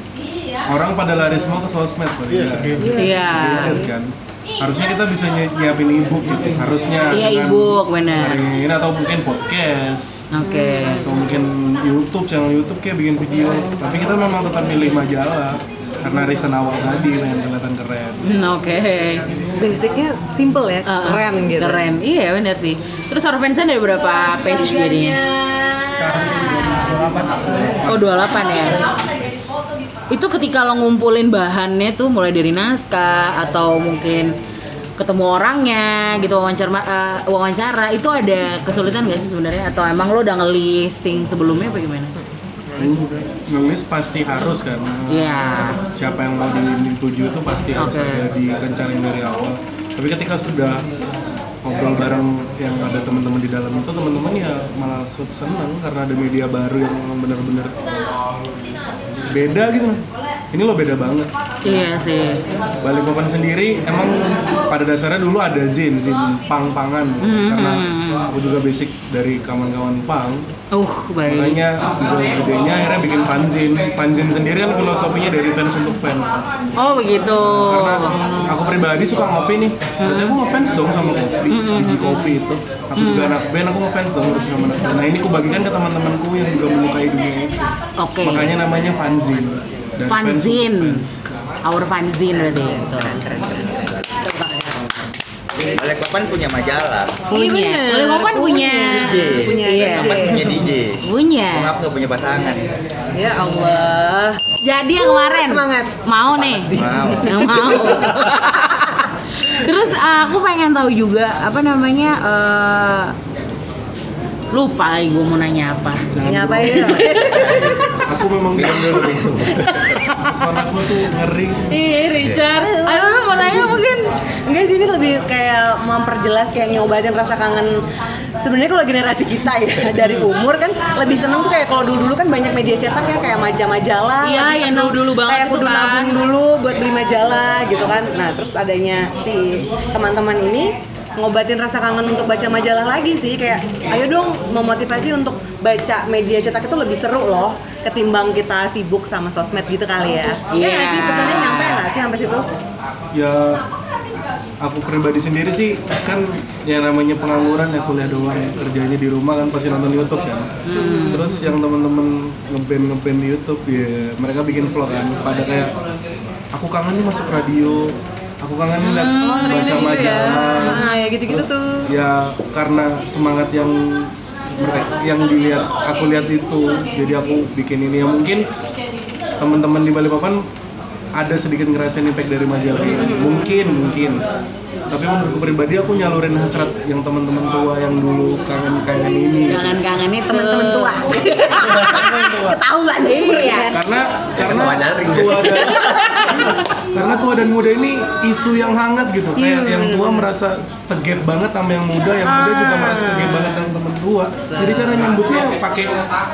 Speaker 8: Orang pada lari semua ke sosmed, Pak. Ya.
Speaker 1: Iya.
Speaker 8: Gadget kan harusnya kita bisa nyi- nyiapin ebook gitu harusnya
Speaker 1: Iya,
Speaker 8: dengan
Speaker 1: ebook, benar.
Speaker 8: hari ini atau mungkin podcast
Speaker 1: Oke.
Speaker 8: atau mungkin YouTube channel YouTube kayak bikin video tapi kita memang tetap milih majalah karena reason awal tadi pengen kelihatan keren
Speaker 1: Hmm, Oke.
Speaker 3: Basicnya simple ya,
Speaker 1: Uh,
Speaker 3: keren gitu.
Speaker 1: Keren. Iya bener sih. Terus Our Fanzine ada berapa page jadinya? Oh 28 ya. Itu ketika lo ngumpulin bahannya tuh mulai dari naskah atau mungkin ketemu orangnya gitu wawancara eh, wawancara itu ada kesulitan gak sih sebenarnya atau emang lo udah ngelisting sebelumnya apa gimana?
Speaker 8: Nulis pasti harus karena
Speaker 1: Iya.
Speaker 8: siapa yang mau di- dituju itu pasti harus
Speaker 1: Oke.
Speaker 8: ada dikencarin dari awal. Tapi ketika sudah ngobrol bareng yang ada teman-teman di dalam itu teman-teman ya malah se- senang karena ada media baru yang memang benar-benar beda gitu. Ini lo beda banget.
Speaker 1: Iya sih.
Speaker 8: Balik papan sendiri emang pada dasarnya dulu ada zin zin pang-pangan karena aku juga basic dari kawan-kawan pang
Speaker 1: Uh, baik.
Speaker 8: makanya gedenya akhirnya bikin fanzine fanzine sendiri kan filosofinya dari fans untuk fans
Speaker 1: Oh begitu.
Speaker 8: karena aku pribadi suka ngopi nih berarti aku ngefans dong sama kopi biji kopi itu aku juga anak band aku ngefans dong berarti sama anak band nah ini aku bagikan ke teman-temanku yang juga menyukai dunia itu
Speaker 1: Oke.
Speaker 8: makanya namanya fanzine Dan fans untuk
Speaker 1: Fanzine.
Speaker 8: fans.
Speaker 1: Our fanzine berarti itu.
Speaker 4: Balikpapan punya majalah,
Speaker 1: Punya.
Speaker 3: bener.
Speaker 1: Boleh Papan Iya, punya.
Speaker 3: Punya
Speaker 1: Iya.
Speaker 3: DJ.
Speaker 4: punya DJ.
Speaker 1: Punya.
Speaker 4: Mengapa nggak punya pasangan?
Speaker 3: Ya Allah.
Speaker 1: Jadi yang kemarin
Speaker 3: Semangat.
Speaker 1: mau nih.
Speaker 4: Wow.
Speaker 1: Nggak mau. Terus uh, aku pengen tahu juga apa namanya eh, lupa lagi gue mau nanya apa.
Speaker 3: Ngapain ya?
Speaker 8: aku memang diambil sonaku tuh ngeri
Speaker 1: Ih Richard, ayo mau nanya mungkin.
Speaker 3: Enggak sih ini lebih kayak memperjelas kayak nyobatin rasa kangen sebenarnya kalau generasi kita ya dari umur kan lebih seneng tuh kayak kalau dulu dulu kan banyak media cetak ya kayak majalah-majalah
Speaker 1: Iya,
Speaker 3: lebih
Speaker 1: yang
Speaker 3: seneng
Speaker 1: dulu-dulu banget
Speaker 3: kayak
Speaker 1: itu
Speaker 3: kudu
Speaker 1: kan.
Speaker 3: nabung dulu buat beli majalah gitu kan nah terus adanya si teman-teman ini ngobatin rasa kangen untuk baca majalah lagi sih kayak ayo dong memotivasi untuk baca media cetak itu lebih seru loh ketimbang kita sibuk sama sosmed gitu kali ya Iya nggak sih
Speaker 1: Iya.
Speaker 3: pesannya nyampe nggak sih sampai situ
Speaker 8: ya aku pribadi sendiri sih kan yang namanya pengangguran ya kuliah doang kerjanya di rumah kan pasti nonton YouTube kan
Speaker 3: Hmm.
Speaker 8: terus yang temen-temen ngeband ngeband di YouTube ya mereka bikin vlog kan pada kayak aku kangen nih masuk radio aku kangen nih liat- baca
Speaker 3: Hmm. Gitu ya.
Speaker 8: majalah
Speaker 3: Nah, ya gitu-gitu tuh.
Speaker 8: ya karena semangat yang mereka- yang dilihat aku lihat itu jadi aku bikin ini ya mungkin teman-teman di Balikpapan ada sedikit ngerasain impact dari majalah ini mungkin mungkin tapi menurutku pribadi aku nyalurin hasrat yang teman-teman tua yang dulu kangen-kangen ini
Speaker 1: Kangen-kangen itu
Speaker 3: teman-teman tua ketahuan deh
Speaker 1: Iya.
Speaker 8: karena karena
Speaker 5: Kenapa nyaring?
Speaker 8: tua dan karena tua dan muda ini isu yang hangat gitu
Speaker 1: Iya.
Speaker 8: kayak yang tua merasa tegap banget sama yang muda yang muda
Speaker 1: Ah.
Speaker 8: juga merasa tegap banget sama temen tua jadi cara nyambutnya pakai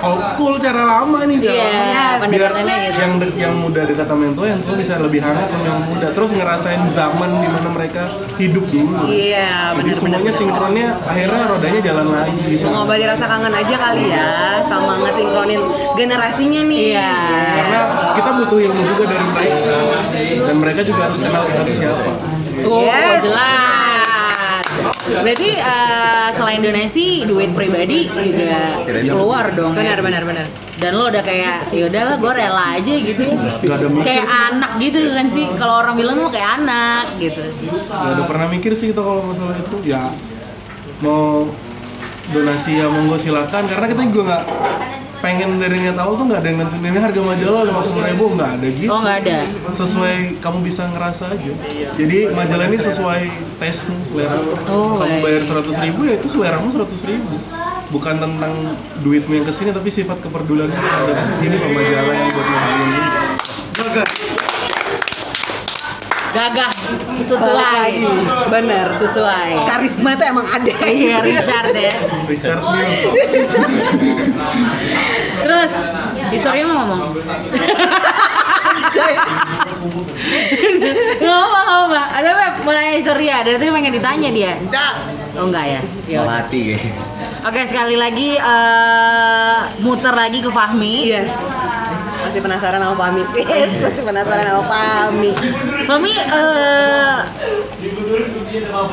Speaker 8: old school cara lama nih cara
Speaker 1: Iya,
Speaker 8: lama. biar
Speaker 1: pendekatannya gitu.
Speaker 8: yang de- yang muda dekat sama yang tua yang tua bisa lebih hangat sama yang muda terus ngerasain zaman di mana mereka hidup dulu
Speaker 3: iya
Speaker 8: jadi semuanya sinkronnya akhirnya rodanya jalan lagi gitu.
Speaker 3: mengobati rasa kangen aja kali ya sama ngesinkronin generasinya nih
Speaker 1: Iya.
Speaker 8: karena kita butuh ilmu juga dari mereka dan mereka juga harus kenal kita tuh siapa
Speaker 1: Oh,
Speaker 3: Yes.
Speaker 1: jelas. Berarti eh, selain donasi, duit pribadi juga keluar dong.
Speaker 3: benar
Speaker 1: Ya?
Speaker 3: benar benar
Speaker 1: Dan lo udah kayak, ya udahlah, gue rela aja gitu. ya."
Speaker 8: Gak ada mikir
Speaker 1: Kayak anak gitu kan sih. Kalau orang bilang lo kayak anak gitu.
Speaker 8: Gak ada pernah mikir sih kita kalau masalah itu ya mau donasi ya monggo silakan karena kita juga nggak pengen dari niat awal tuh nggak ada yang nentuin ini harga majalah lima puluh ribu nggak ada gitu
Speaker 1: Oh nggak ada.
Speaker 8: sesuai kamu bisa ngerasa aja jadi majalah ini sesuai tesmu selera lu.
Speaker 1: Oh,
Speaker 8: kamu
Speaker 1: baik.
Speaker 8: bayar seratus ribu ya itu seleramu seratus ribu bukan tentang duitmu yang kesini tapi sifat kepedulianmu terhadap ini loh majalah yang buat ngehalin ini
Speaker 1: Gagah,
Speaker 3: Balik
Speaker 1: sesuai,
Speaker 3: lagi benar
Speaker 1: sesuai.
Speaker 3: karisma tuh emang ada
Speaker 1: Iya Richard ya.
Speaker 8: Richard Mille
Speaker 1: Terus, historinya mau ngomong? Gak apa, gak apa. Ada Beb, mau nanya historia. Dari tadi pengen ditanya dia.
Speaker 4: Enggak.
Speaker 1: Oh enggak ya? Ya udah.
Speaker 5: Mati kayaknya.
Speaker 1: Oke, sekali lagi eh, muter lagi ke Fahmi.
Speaker 3: yes masih penasaran sama Pami Yes, masih penasaran sama Pami
Speaker 1: Fahmi, eh,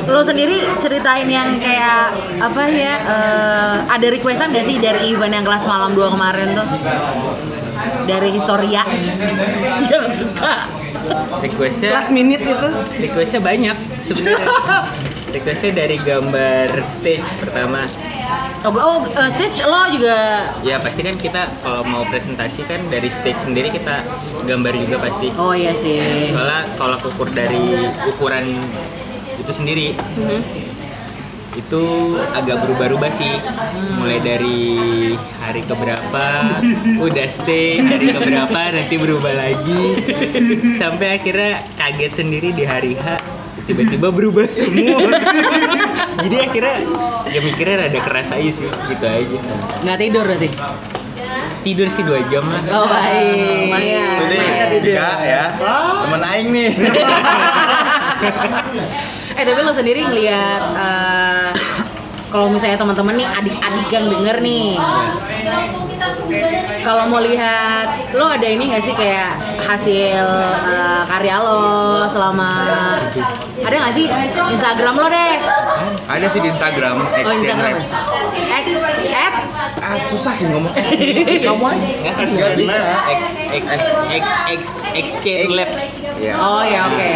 Speaker 1: lo sendiri ceritain yang kayak apa ya? eh, ada requestan gak sih dari event yang kelas malam 2 kemarin tuh? Dari historia yang suka.
Speaker 6: requestnya
Speaker 3: last minute itu
Speaker 6: requestnya banyak sebenarnya requestnya dari gambar stage pertama
Speaker 1: Oh, gua- oh eh, stage lo juga.
Speaker 6: ya pasti kan kita kalau mau presentasi kan dari stage sendiri kita gambar juga pasti
Speaker 1: Oh iya sih.
Speaker 6: soalnya kalau ukur dari ukuran itu sendiri itu agak berubah-ubah sih mulai dari hari keberapa udah stay hari keberapa nanti berubah lagi sampai akhirnya kaget sendiri di hari H tiba-tiba berubah semua jadi akhirnya ya mikirnya rada keras aja sih gitu aja
Speaker 1: Nggak tidur berarti?
Speaker 6: tidur sih dua jam lah
Speaker 1: Oh baik.
Speaker 3: Lumayan.
Speaker 4: Jadi
Speaker 3: Masa tidur.
Speaker 4: Dika ya,
Speaker 1: Ah.
Speaker 4: temen Aing nih.
Speaker 1: Eh tapi lo sendiri ngeliat eh, kalau misalnya teman-teman nih adik-adik yang denger nih, kalau mau lihat lo ada ini nggak sih kayak hasil eh, karya lo selama ada nggak sih Instagram lo deh?
Speaker 4: Ada sih di Instagram,
Speaker 1: Oh
Speaker 4: Exchange
Speaker 1: Instagram.
Speaker 4: Labs.
Speaker 1: X at
Speaker 4: Ah, susah sih ngomong. Eh, Kamu aja. Nggak bisa.
Speaker 6: X X X X X Chain Labs
Speaker 4: Iya.
Speaker 1: oh ya oke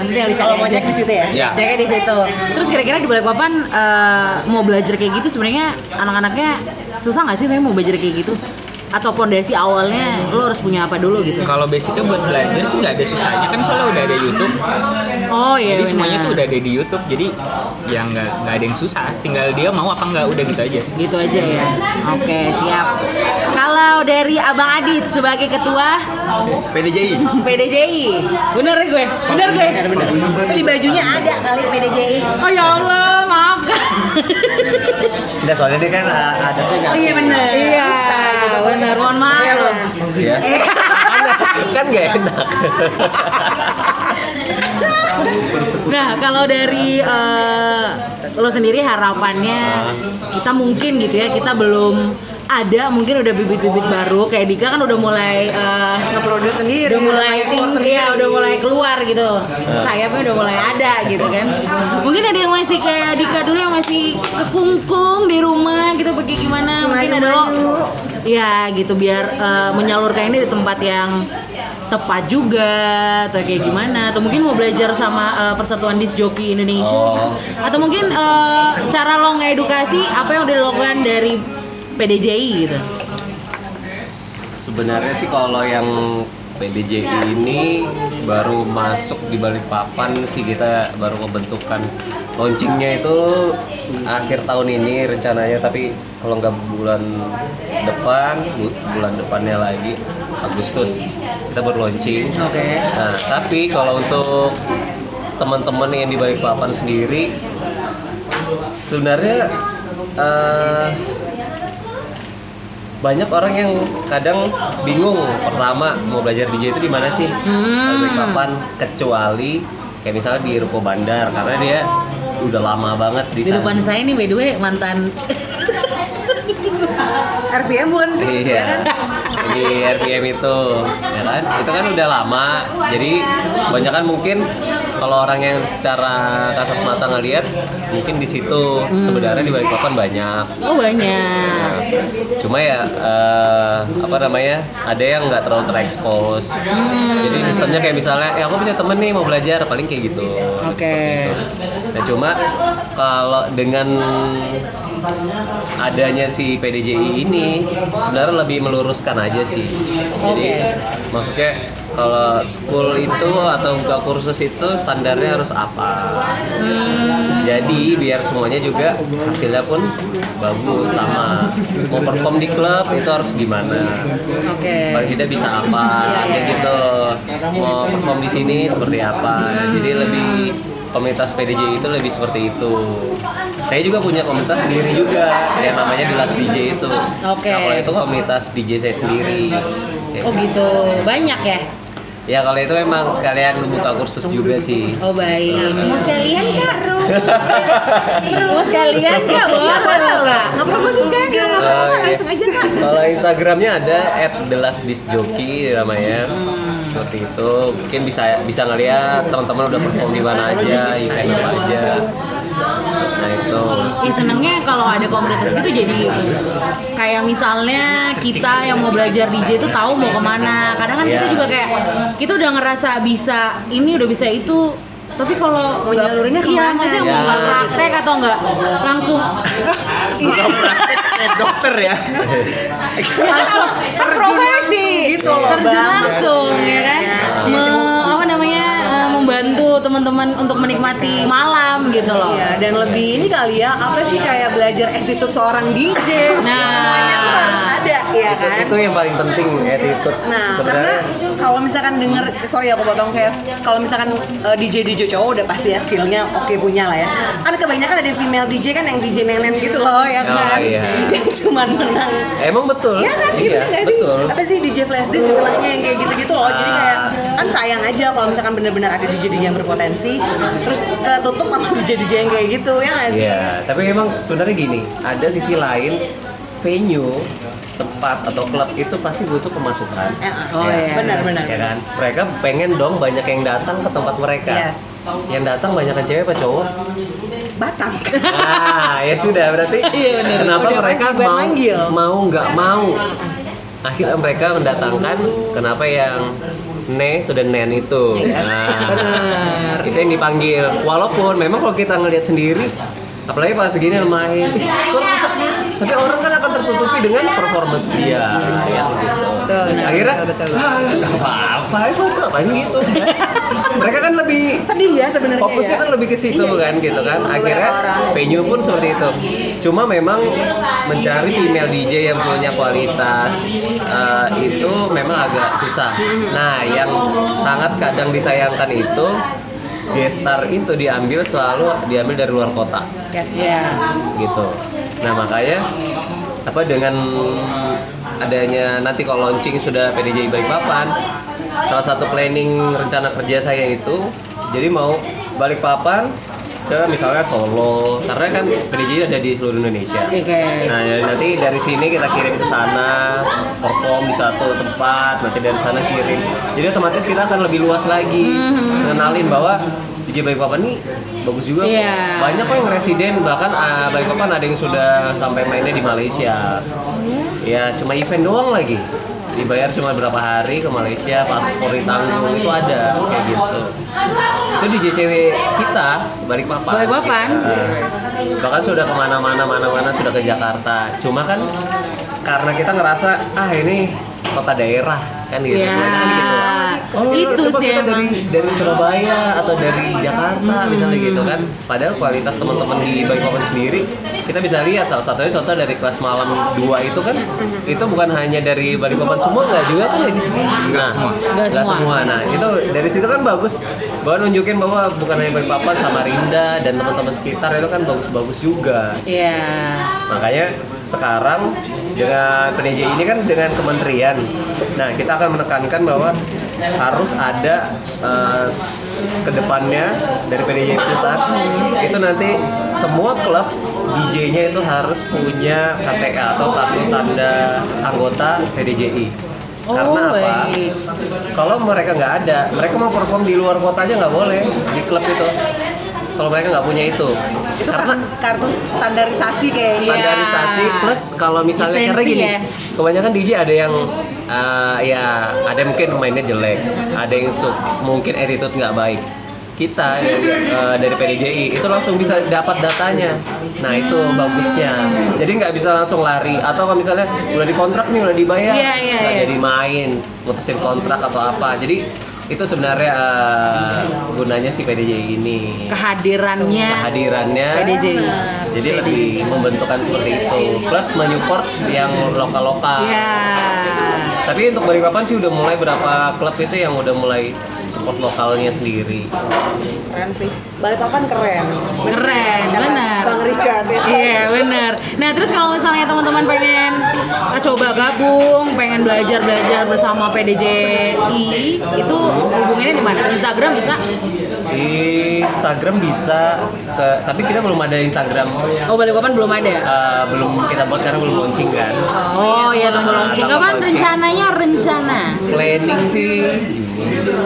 Speaker 1: nanti tinggal dicek
Speaker 3: Kalau mau
Speaker 1: aja.
Speaker 3: cek di situ ya.
Speaker 4: Ya.
Speaker 1: Ceknya di situ. Terus kira-kira di Balikpapan eh, mau belajar kayak gitu sebenarnya anak-anaknya susah nggak sih sebenarnya mau belajar kayak gitu? Atau pondasi awalnya lo harus punya apa dulu gitu?
Speaker 6: kalau basicnya buat belajar sih nggak ada susahnya kan soalnya udah ada YouTube
Speaker 1: Oh iya.
Speaker 6: jadi semuanya
Speaker 1: benar.
Speaker 6: tuh udah ada di YouTube jadi ya nggak nggak ada yang susah tinggal dia mau apa nggak udah gitu aja
Speaker 1: Gitu aja ya. Oke siap. Kalau dari Abang Adit sebagai ketua
Speaker 4: PDJI.
Speaker 1: PDJI, bener ya gue, bener gue.
Speaker 3: Itu di bajunya ada kali PDJI.
Speaker 1: Oh ya Allah, maaf kan.
Speaker 5: Enggak soalnya dia kan uh, ada
Speaker 3: Oh iya benar.
Speaker 1: Iya, bener. Mohon maaf.
Speaker 5: ya.
Speaker 3: Eh,
Speaker 5: kan nggak enak.
Speaker 1: Nah, kalau dari eh, lo sendiri harapannya kita mungkin gitu ya, kita belum ada mungkin udah bibit-bibit baru kayak Dika kan udah mulai eh,
Speaker 3: ngeproduksi sendiri.
Speaker 1: udah mulai
Speaker 3: ekspor sendiri.
Speaker 1: iya udah mulai keluar gitu sayapnya udah mulai ada gitu kan mungkin ada yang masih kayak Dika dulu yang masih kekungkung di rumah gitu pergi gimana mungkin ada lo
Speaker 3: Madu-madu.
Speaker 1: ya gitu biar eh, menyalurkan ini di tempat yang tepat juga atau kayak gimana atau mungkin mau belajar sama eh, Persatuan Disc Jockey Indonesia gitu. atau mungkin eh, cara lo ngedukasi apa yang udah dilakukan dari PDJI gitu
Speaker 5: Sebenarnya sih kalau yang PDJ ini baru masuk di Balikpapan sih kita baru membentukkan launchingnya itu akhir tahun ini rencananya tapi kalau nggak bulan depan bu- bulan depannya lagi Agustus kita baru launching. Nah, tapi kalau untuk teman-teman yang di Balikpapan sendiri sebenarnya eh, banyak orang yang kadang bingung pertama mau belajar DJ itu di mana sih hmm. papan kecuali kayak misalnya di ruko bandar karena dia udah lama banget di
Speaker 1: di
Speaker 5: sana
Speaker 1: depan saya nih by the way mantan
Speaker 3: RPM bukan sih? ya
Speaker 5: iya
Speaker 3: kan?
Speaker 5: di RPM itu ya kan itu kan udah lama jadi banyak kan mungkin kalau orang yang secara kasat mata ngelihat mungkin di situ sebenarnya di balik papan banyak
Speaker 1: oh banyak
Speaker 5: cuma ya eh, apa namanya ada yang nggak terlalu terekspos jadi sistemnya kayak misalnya ya aku punya temen nih mau belajar paling kayak gitu
Speaker 1: Oke.
Speaker 5: nah cuma kalau dengan adanya si PDJI ini sebenarnya lebih meluruskan aja sih jadi maksudnya kalau school itu atau buka kursus itu standarnya harus apa jadi biar semuanya juga hasilnya pun bagus sama mau perform di klub itu harus gimana
Speaker 1: Oke.
Speaker 5: paling tidak bisa apa kayak gitu mau perform di sini seperti apa jadi lebih komunitas PDJ itu lebih seperti itu saya juga punya komunitas sendiri juga yang namanya The Last DJ itu
Speaker 1: Oke.
Speaker 5: nah, kalau itu komunitas DJ saya sendiri Ya.
Speaker 1: Oh gitu. Banyak ya?
Speaker 5: ya kalau itu memang sekalian buka kursus juga sih
Speaker 1: Oh baik. Mau sekalian Kak Mau sekalian Kak Boleh loh Kak.
Speaker 3: Nggak perlu sih kan? Nggak apa-apa,
Speaker 5: Oke.
Speaker 3: langsung aja kan.
Speaker 5: Oh, iya. Kalau Instagramnya ada @thelasdisjoki namanya. Seperti itu. Mungkin bisa bisa ngeliat teman-teman udah perform di mana aja, event apa aja. Nah itu.
Speaker 1: Ya senengnya kalau ada komunitas gitu jadi kayak misalnya kita yang mau belajar DJ itu tahu mau kemana. Kadang kan kita
Speaker 4: Ya.
Speaker 5: Iya.
Speaker 1: juga kayak kita udah ngerasa bisa ini udah bisa itu tapi kalau
Speaker 3: Mau nyalurinnya
Speaker 1: iya,
Speaker 3: kemana?
Speaker 1: maksudnya mau
Speaker 5: Ya.
Speaker 1: nggak praktek atau nggak langsung Iya.
Speaker 4: Kayak dokter ya.
Speaker 1: ya kan kalau terprofesi Iya, terjun langsung ya kan Me- apa namanya eh, membantu teman teman-teman untuk menikmati malam gitu loh.
Speaker 3: Iya, dan lebih ini kali ya, apa sih kayak belajar attitude seorang DJ.
Speaker 1: Nah.
Speaker 3: Semuanya tuh harus ada, ya kan?
Speaker 5: itu yang paling penting attitude
Speaker 3: Nah, karena
Speaker 5: sebenarnya
Speaker 3: kalau misalkan denger, sorry aku potong Kev, kalau misalkan eh, DJ DJ cowok udah pasti ya skillnya oke punya lah ya. Kan kebanyakan ada female DJ kan yang DJ nenen gitu loh ya
Speaker 5: Oh,
Speaker 3: kan,
Speaker 5: iya.
Speaker 3: yang cuman menang.
Speaker 5: emang betul
Speaker 3: Ya kan, gitu
Speaker 5: iya,
Speaker 3: nggak sih?
Speaker 5: betul Ah.
Speaker 3: Apa sih DJ flash disk istilahnya yang kayak gitu-gitu loh. Jadi kayak kan sayang aja kalau misalkan bener-bener ada DJ DJ yang berpotensi, terus eh, tutup sama DJ DJ yang kayak gitu ya nggak sih?
Speaker 5: Iya, tapi memang sebenarnya gini, ada sisi lain venue tempat atau klub itu pasti butuh pemasukan.
Speaker 3: Eh, oh, iya. Benar, benar.
Speaker 5: Ya kan? Mereka pengen dong banyak yang datang ke tempat mereka.
Speaker 3: Yes.
Speaker 5: Yang datang banyak cewek apa cowok?
Speaker 3: Batang.
Speaker 5: Nah, ya sudah berarti.
Speaker 1: Iya, benar.
Speaker 5: Kenapa
Speaker 3: Udah
Speaker 5: mereka
Speaker 3: pasti
Speaker 5: mau
Speaker 3: manggil.
Speaker 5: mau nggak mau? Akhirnya mereka mendatangkan kenapa yang ne to the nen itu.
Speaker 3: Iya.
Speaker 5: Nah, itu yang dipanggil. Walaupun memang kalau kita ngelihat sendiri apalagi pas segini main "Ih, kok rusak sih?" tapi orang kan akan tertutupi dengan performance
Speaker 3: Iya,
Speaker 5: dia ya, gitu. akhirnya "Ah, nggak apa-apa itu tuh apa gitu kan. mereka kan lebih
Speaker 3: Sedih ya sebenarnya.
Speaker 5: fokusnya
Speaker 3: ya.
Speaker 5: kan lebih ke situ kan gitu kan akhirnya venue pun seperti itu cuma memang mencari female DJ yang punya kualitas eh, itu memang agak susah nah yang sangat kadang disayangkan itu gestar itu diambil selalu diambil dari luar kota
Speaker 3: Yes.
Speaker 5: gitu. Nah makanya apa dengan adanya nanti kalau launching sudah PDJ Balikpapan, salah satu planning rencana kerja saya itu jadi mau Balikpapan ke misalnya Solo karena kan PDJ ada di seluruh Indonesia. Nah ya, nanti dari sini kita kirim ke sana perform di satu tempat, nanti dari sana kirim. Jadi otomatis kita akan lebih luas lagi mengenalin bahwa DJ Balikpapan ini bagus juga kok.
Speaker 1: Iya.
Speaker 5: banyak kok yang residen bahkan ah, Balikpapan ada yang sudah sampai mainnya di Malaysia ya cuma event doang lagi dibayar cuma berapa hari ke Malaysia paspor ditanggung itu ada kayak gitu itu di JCW kita Balikpapan
Speaker 1: Balikpapan.
Speaker 5: Eh, bahkan sudah kemana-mana mana-mana sudah ke Jakarta cuma kan karena kita ngerasa ah ini kota daerah kan gitu
Speaker 1: Ya,
Speaker 5: Kebanyakan gitu
Speaker 1: itu
Speaker 5: coba
Speaker 1: sih emang. Iya.
Speaker 5: kita
Speaker 1: Hmm.
Speaker 5: dari dari Surabaya atau dari Jakarta misalnya gitu kan padahal kualitas teman-teman di Balikpapan sendiri kita bisa lihat salah satunya contoh dari kelas malam 2 itu kan
Speaker 1: Hmm.
Speaker 5: itu bukan hanya dari Balikpapan semua nggak juga kan ini nah
Speaker 4: semua.
Speaker 1: Nggak
Speaker 5: nggak
Speaker 1: semua.
Speaker 5: semua nah itu dari situ kan bagus bahwa nunjukin bahwa bukan hanya Balikpapan Samarinda dan teman-teman sekitar itu kan bagus-bagus juga
Speaker 1: Iya.
Speaker 5: Makanya sekarang dengan PDJ ini kan dengan kementerian. Nah, kita akan menekankan bahwa harus ada eh, kedepannya dari PDJ pusat itu nanti semua klub DJ-nya itu harus punya KTA atau kartu tanda anggota PDJI.
Speaker 1: Oh,
Speaker 5: Karena apa?
Speaker 1: baik.
Speaker 5: Kalau mereka nggak ada, mereka mau perform di luar kota aja nggak boleh di klub itu. Kalau mereka nggak punya itu,
Speaker 1: kan
Speaker 3: Itu karena kartu standarisasi kayaknya.
Speaker 5: standarisasi
Speaker 1: Iya.
Speaker 5: plus kalau misalnya
Speaker 1: Lisensi
Speaker 5: karena gini
Speaker 1: ya.
Speaker 5: kebanyakan DJ ada yang eh, ya ada yang mungkin mainnya jelek ada yang su- mungkin attitude nggak baik kita eh, dari PDJI itu langsung bisa dapat datanya nah itu
Speaker 1: Hmm.
Speaker 5: bagusnya jadi nggak bisa langsung lari atau kalau misalnya udah dikontrak nih udah dibayar
Speaker 1: Iya, iya,
Speaker 5: nggak
Speaker 1: iya.
Speaker 5: jadi main mutusin kontrak atau apa jadi itu sebenarnya eh, gunanya si PDJI ini
Speaker 1: Kehadirannya.
Speaker 5: kehadirannya
Speaker 1: PDJI.
Speaker 5: jadi lebih membentukkan seperti itu plus menyupport yang lokal lokal
Speaker 1: Iya.
Speaker 5: tapi untuk Balikpapan sih udah mulai berapa klub itu yang udah mulai support lokalnya sendiri
Speaker 3: Keren sih. Balikpapan keren.
Speaker 1: Keren,
Speaker 3: Kata
Speaker 1: benar.
Speaker 3: Bang Richard ya.
Speaker 1: Iya benar. Nah terus kalau misalnya teman-teman pengen eh, coba gabung, pengen belajar belajar bersama PDJI, itu hubungannya di mana? Instagram bisa?
Speaker 5: di Instagram bisa ke- tapi kita belum ada Instagram
Speaker 1: Oh Balikpapan belum ada.
Speaker 5: Eh, belum kita buat karena belum launching kan
Speaker 1: Oh iya tombol launching. Kapan
Speaker 5: Tombol launching.
Speaker 1: rencananya rencana?
Speaker 5: planning sih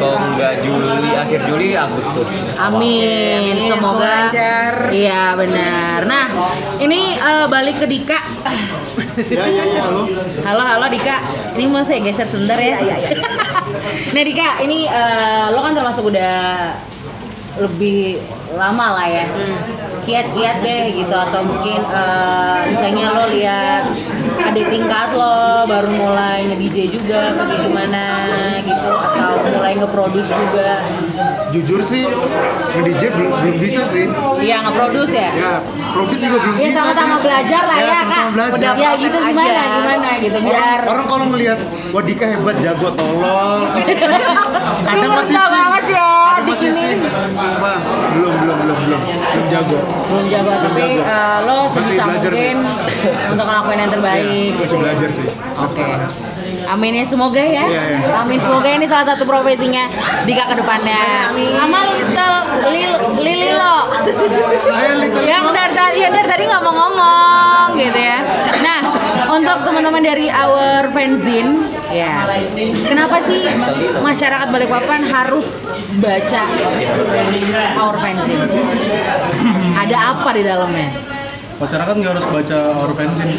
Speaker 5: kalau nggak Juli akhir Juli Agustus
Speaker 1: Amin. Semoga
Speaker 3: lancar.
Speaker 1: Iya benar. Nah, ini eh, balik ke Dika.
Speaker 2: Ya ya ya lo.
Speaker 1: Halo halo Dika. Ini mau saya geser sebentar ya.
Speaker 3: Iya, iya,
Speaker 1: nah Dika, ini eh, lo kan termasuk udah lebih lama lah ya. Kiat-kiat deh gitu atau mungkin eh, misalnya lo lihat ada tingkat lo baru mulai nge DJ juga atau kayak gimana gitu atau mulai nge-produce juga
Speaker 2: Jujur sih, nge-DJ belum, belum bisa sih.
Speaker 1: iya nge-produce ya
Speaker 2: Ya, produs juga belum
Speaker 1: Ya
Speaker 2: bisa
Speaker 1: sama-sama
Speaker 2: sih.
Speaker 1: belajar lah ya,
Speaker 2: Iya, sama-sama
Speaker 1: kak.
Speaker 2: belajar.
Speaker 1: Ya gitu
Speaker 3: protes
Speaker 1: gimana
Speaker 3: aja.
Speaker 1: gimana gitu biar.
Speaker 2: Orang, orang kalau ngelihat wah Dika hebat jago tolol kadang
Speaker 1: Lu
Speaker 2: masih
Speaker 1: rendah
Speaker 2: sih
Speaker 1: banget ya,
Speaker 2: kadang masih
Speaker 1: bikinin.
Speaker 2: sih sumpah belum belum belum belum belum jago
Speaker 1: belum jago tapi
Speaker 2: jago.
Speaker 1: eh, lo
Speaker 2: Masih
Speaker 1: sebisa
Speaker 2: belajar sih. Iya,
Speaker 1: mungkin untuk ngelakuin yang terbaik gitu.
Speaker 2: masih belajar sih
Speaker 1: Oke. Amin ya semoga ya.
Speaker 2: Iya, iya.
Speaker 1: Amin semoga ini salah satu profesinya Dika ke depannya. Sama Little Lil, Lililo
Speaker 2: ayo little
Speaker 1: yang
Speaker 2: Mom.
Speaker 1: dari tadi yang dari tadi nggak mau ngomong gitu ya. Nah untuk teman-teman dari Our Fanzine ya kenapa sih masyarakat Balikpapan harus baca Our Fanzine? Ada apa di dalamnya?
Speaker 8: Masyarakat nggak harus baca orvensin,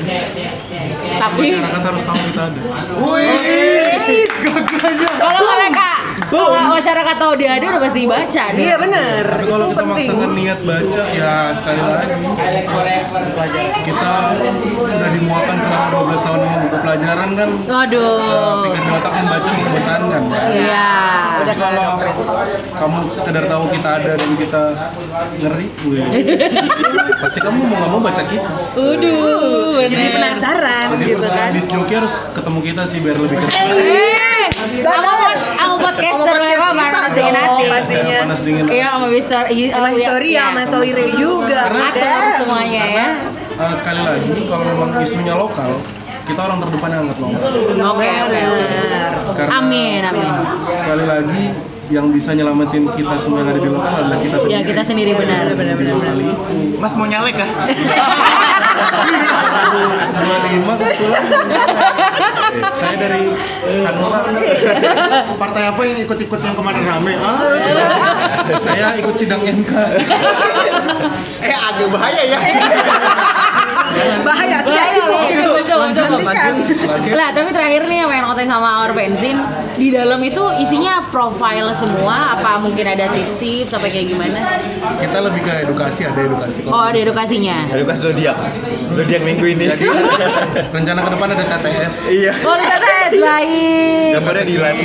Speaker 1: Tapi
Speaker 8: masyarakat harus tahu kita ada.
Speaker 3: Iya.
Speaker 1: Yes. Kalau mereka kalau masyarakat tahu dia ada udah pasti baca nih.
Speaker 3: Iya benar.
Speaker 8: Tapi
Speaker 3: Itu
Speaker 8: kalau kita
Speaker 3: penting.
Speaker 8: maksakan niat baca, ya sekali lagi kita udah dimuakan selama 12 tahun sama buku pelajaran kan
Speaker 1: Aduh.
Speaker 8: pikiran di otak membaca membosankan.
Speaker 1: Iya.
Speaker 8: Tapi kalau kamu sekedar tahu kita ada dan kita ngeri, wih, pasti kamu mau nggak mau baca kita.
Speaker 1: Aduh,
Speaker 3: Jadi
Speaker 1: bener.
Speaker 3: penasaran
Speaker 8: Jadi
Speaker 3: gitu kan.
Speaker 8: perusahaan disc jockey harus ketemu kita sih biar lebih keren.
Speaker 1: Eh, Kamu pod, kamu podcaster mereka
Speaker 3: Podcast kita
Speaker 1: bareng Sedih
Speaker 3: dong,
Speaker 1: Nati.
Speaker 3: pastinya.
Speaker 8: Panas dingin.
Speaker 1: Iya, sama Mister iya,
Speaker 3: Oh, Sama
Speaker 1: iya,
Speaker 3: Historia,
Speaker 1: iya.
Speaker 3: sama Soire juga.
Speaker 8: Karena-
Speaker 1: Ada semuanya ya.
Speaker 8: Karena eh, sekali lagi kalau memang isunya lokal, kita orang terdepan yang angkat lokal.
Speaker 1: Oke, oke, oke.
Speaker 3: Benar. Iya.
Speaker 8: Karena
Speaker 1: Amin, amin.
Speaker 8: sekali lagi yang bisa nyelamatin kita semua yang ada di lokal adalah kita sendiri.
Speaker 1: Ya kita sendiri benar.
Speaker 8: Di lokal itu.
Speaker 4: Mas mau nyalek kah?
Speaker 8: 25 kebetulan. Eh, Saya dari Hanura.
Speaker 2: partai apa yang ikut-ikut yang kemarin rame ah
Speaker 8: Saya ikut sidang MK.
Speaker 4: Eh agak bahaya ya.
Speaker 3: Bahaya, sudah
Speaker 1: Bahaya,
Speaker 3: cukup,
Speaker 1: loh.
Speaker 3: cukup.
Speaker 1: Cukup, cukup.
Speaker 3: Hentikan.
Speaker 1: Lah, tapi terakhir nih yang pengen ngotain sama Our Bensin di dalam itu isinya profile semua apa mungkin ada tips-tips sampai kayak gimana?
Speaker 2: kita lebih ke edukasi ada edukasi kok
Speaker 1: Oh, ada edukasinya.
Speaker 4: Lukas zodiak. Zodiak minggu ini.
Speaker 8: Rencana ke depan ada TTS.
Speaker 4: Iya.
Speaker 1: Oh, dikatakan baik.
Speaker 4: Gambarnya di lab.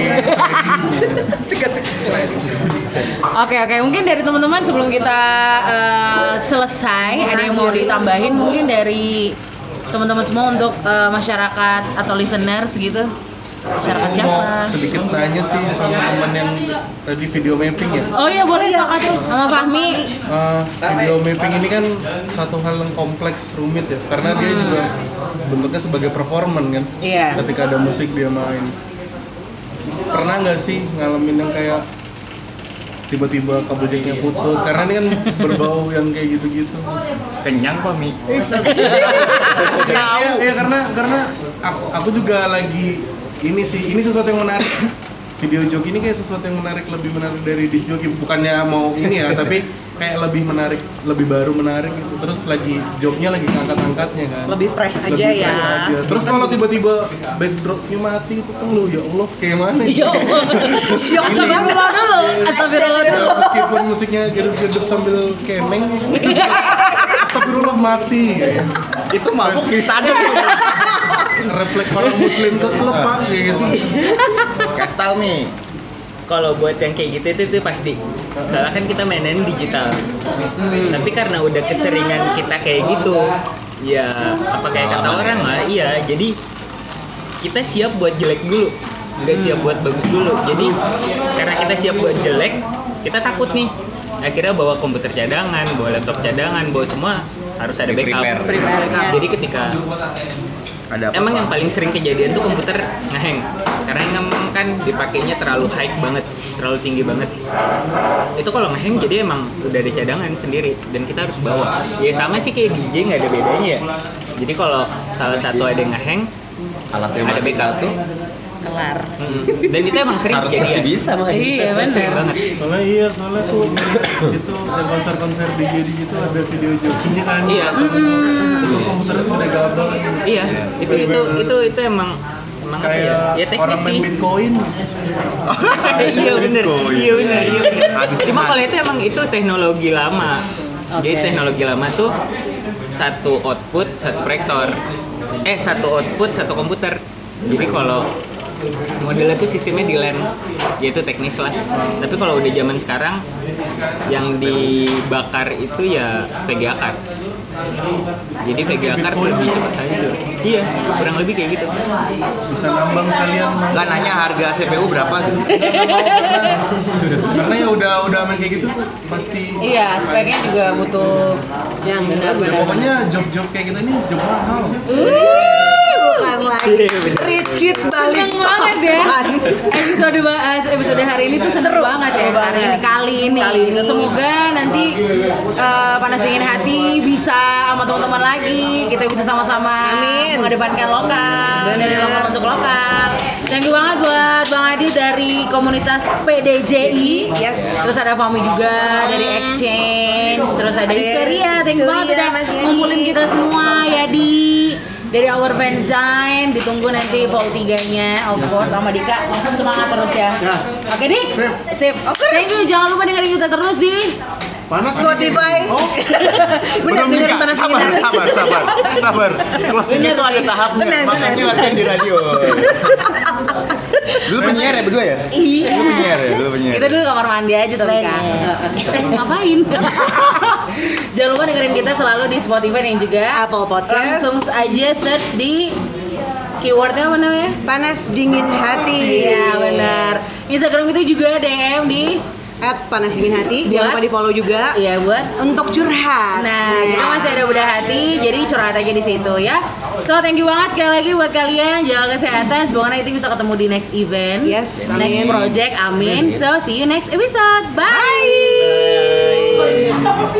Speaker 1: Oke oke mungkin dari teman-teman sebelum kita eh, selesai ada yang mau ditambahin mungkin dari teman-teman semua untuk eh, masyarakat atau listeners gitu masyarakat
Speaker 8: Aku mau
Speaker 1: siapa?
Speaker 8: sedikit nanya sih sama teman yang tadi video mapping ya.
Speaker 1: Oh iya boleh sok atuh sama Fahmi.
Speaker 8: Eh, video mapping ini kan satu hal yang kompleks rumit ya karena dia juga bentuknya sebagai performan kan
Speaker 1: Hmm. Iya.
Speaker 8: ketika ada musik dia main pernah nggak sih ngalamin yang kayak tiba-tiba kabel jacknya putus karena ini kan berbau yang kayak gitu-gitu
Speaker 4: Kenyang pak Mi.
Speaker 8: Iya, iya, iya, karena karena aku, aku juga lagi ini sih ini sesuatu yang menarik video joki ini kayak sesuatu yang menarik lebih menarik dari disc joki bukannya mau ini ya tapi kayak lebih menarik lebih baru menarik gitu. terus lagi jobnya lagi angkat-angkatnya kan
Speaker 3: Lebih fresh aja
Speaker 8: Lebih
Speaker 3: ya.
Speaker 8: fresh aja. terus kalau tiba-tiba backdropnya mati itu kan lu ya Allah kayak mana
Speaker 1: Yo.
Speaker 3: Syok banget.
Speaker 1: Astagfirullah dulu. Astagfirullah dulu.
Speaker 8: Ya, meskipun musiknya gedup-gedup sambil kemeng Astagfirullah mati kayak.
Speaker 4: Itu mabuk jadi sadar.
Speaker 8: refleks orang muslim ke klub Pak, kayak gitu
Speaker 4: Kasih tau Mi.
Speaker 6: kalau buat yang kayak gitu itu, itu pasti soalnya kan kita mainin digital tapi karena udah keseringan kita kayak gitu ya apa kayak kata orang lah iya jadi kita siap buat jelek dulu nggak siap buat bagus dulu jadi karena kita siap buat jelek kita takut nih akhirnya bawa komputer cadangan bawa laptop cadangan bawa semua harus ada backup
Speaker 5: Di-prepare.
Speaker 3: Primernya.
Speaker 6: jadi ketika
Speaker 4: Ada apa?
Speaker 6: Emang yang paling sering kejadian tuh komputer ngeheng karena emang kan dipakainya terlalu high banget, terlalu tinggi banget. Itu kalau ngeheng jadi emang udah ada cadangan sendiri dan kita harus bawa. Ya sama sih kayak DJ nggak ada bedanya ya. Jadi kalau salah satu ada yang ngeheng
Speaker 5: Alatnya
Speaker 6: ada backup tuh.
Speaker 3: Kelar.
Speaker 6: Dan itu emang sering
Speaker 5: harus masih
Speaker 6: kejadian.
Speaker 5: bisa mah.
Speaker 1: Iya
Speaker 6: Sering
Speaker 1: benar.
Speaker 6: banget.
Speaker 8: soalnya iya soalnya tuh itu yang konser-konser di jadi gitu ada video jokinya kan
Speaker 6: Iya.
Speaker 8: itu komputernya sudah gabel
Speaker 6: Iya, itu itu itu itu emang emang apa ya?
Speaker 8: kayak
Speaker 6: Ya
Speaker 8: orang
Speaker 6: teknis
Speaker 8: main
Speaker 6: sih.
Speaker 8: bitcoin
Speaker 6: iya bener,
Speaker 4: Bitcoin.
Speaker 6: iya bener, iya bener.
Speaker 4: Habis
Speaker 6: Cuma
Speaker 4: itu
Speaker 6: kalau itu emang itu teknologi lama. Jadi teknologi lama tuh satu output satu proyektor. eh satu output satu komputer jadi kalau modelnya tuh sistemnya di LAN yaitu teknis lah tapi kalau udah zaman sekarang yang dibakar itu ya VGA card jadi VGA card lebih cepat hancur iya kurang lebih kayak gitu
Speaker 8: bisa nambang sekalian
Speaker 4: Nggak nanya harga CPU berapa gitu.
Speaker 8: karena ya udah udah main kayak gitu pasti
Speaker 1: Iya, speknya juga butuh yang
Speaker 8: ya,
Speaker 1: benar-benar.
Speaker 8: pokoknya job-job kayak gitu nih job mahal
Speaker 3: Ih, bukan lagi rich kids balik
Speaker 1: Seneng banget ya
Speaker 3: Apaan?
Speaker 1: episode ba- eh, episode hari ini tuh seneng
Speaker 3: Seru,
Speaker 1: banget
Speaker 3: seru
Speaker 1: ya hari
Speaker 3: banget.
Speaker 1: ini kali ini,
Speaker 3: Kali ini.
Speaker 1: semoga nanti eh, panas dingin hati bisa sama teman-teman lagi kita bisa sama-sama
Speaker 3: Amin.
Speaker 1: mengedepankan lokal
Speaker 3: Bener.
Speaker 1: dari lokal untuk lokal thank you banget buat Bang Adi dari komunitas PDJI
Speaker 3: Yes.
Speaker 1: terus ada Fami juga dari Exchange terus ada
Speaker 3: Ada
Speaker 1: Histeria thank you banget
Speaker 3: Histeria,
Speaker 1: udah
Speaker 3: Mas Yadi.
Speaker 1: ngumpulin kita semua ya di dari Our Fanzine ditunggu nanti Vol 3 nya of course sama Dika semangat terus ya
Speaker 2: Yes.
Speaker 1: oke Dik
Speaker 2: Sip.
Speaker 1: sip oke thank you jangan lupa dengerin kita terus di
Speaker 2: Panas
Speaker 3: Spotify
Speaker 2: Oh,
Speaker 3: bener
Speaker 4: Belum
Speaker 3: bener
Speaker 4: nikah.
Speaker 3: panas
Speaker 4: Sabar,
Speaker 3: dingin
Speaker 4: sabar, sabar, sabar. Closing itu ada tahapnya.
Speaker 3: Benar,
Speaker 4: Makanya
Speaker 3: benar.
Speaker 4: latihan di radio. Lu penyiar ya berdua ya?
Speaker 3: iya
Speaker 4: Lu penyiar ya, lu penyiar.
Speaker 1: kita dulu kamar mandi aja tapi
Speaker 3: Boleh.
Speaker 1: Kak. Eh, ngapain jangan lupa dengerin kita selalu di Spotify dan juga
Speaker 3: Apple Podcast.
Speaker 1: langsung aja search di keywordnya apa namanya
Speaker 3: panas dingin hati
Speaker 1: Iya benar. Instagram kita juga DM di
Speaker 3: at panas dingin hati jangan
Speaker 1: Buat?
Speaker 3: lupa di follow juga
Speaker 1: ya buat
Speaker 3: untuk curhat Iya.
Speaker 1: Nah, kita masih ada bedah hati, jadi curhat aja di situ ya. So, thank you banget sekali lagi buat kalian. Jaga kesehatan, semoga nanti bisa ketemu di next event.
Speaker 3: Yes,
Speaker 1: Next
Speaker 3: amin.
Speaker 1: project, amin. So, see you next episode. Bye.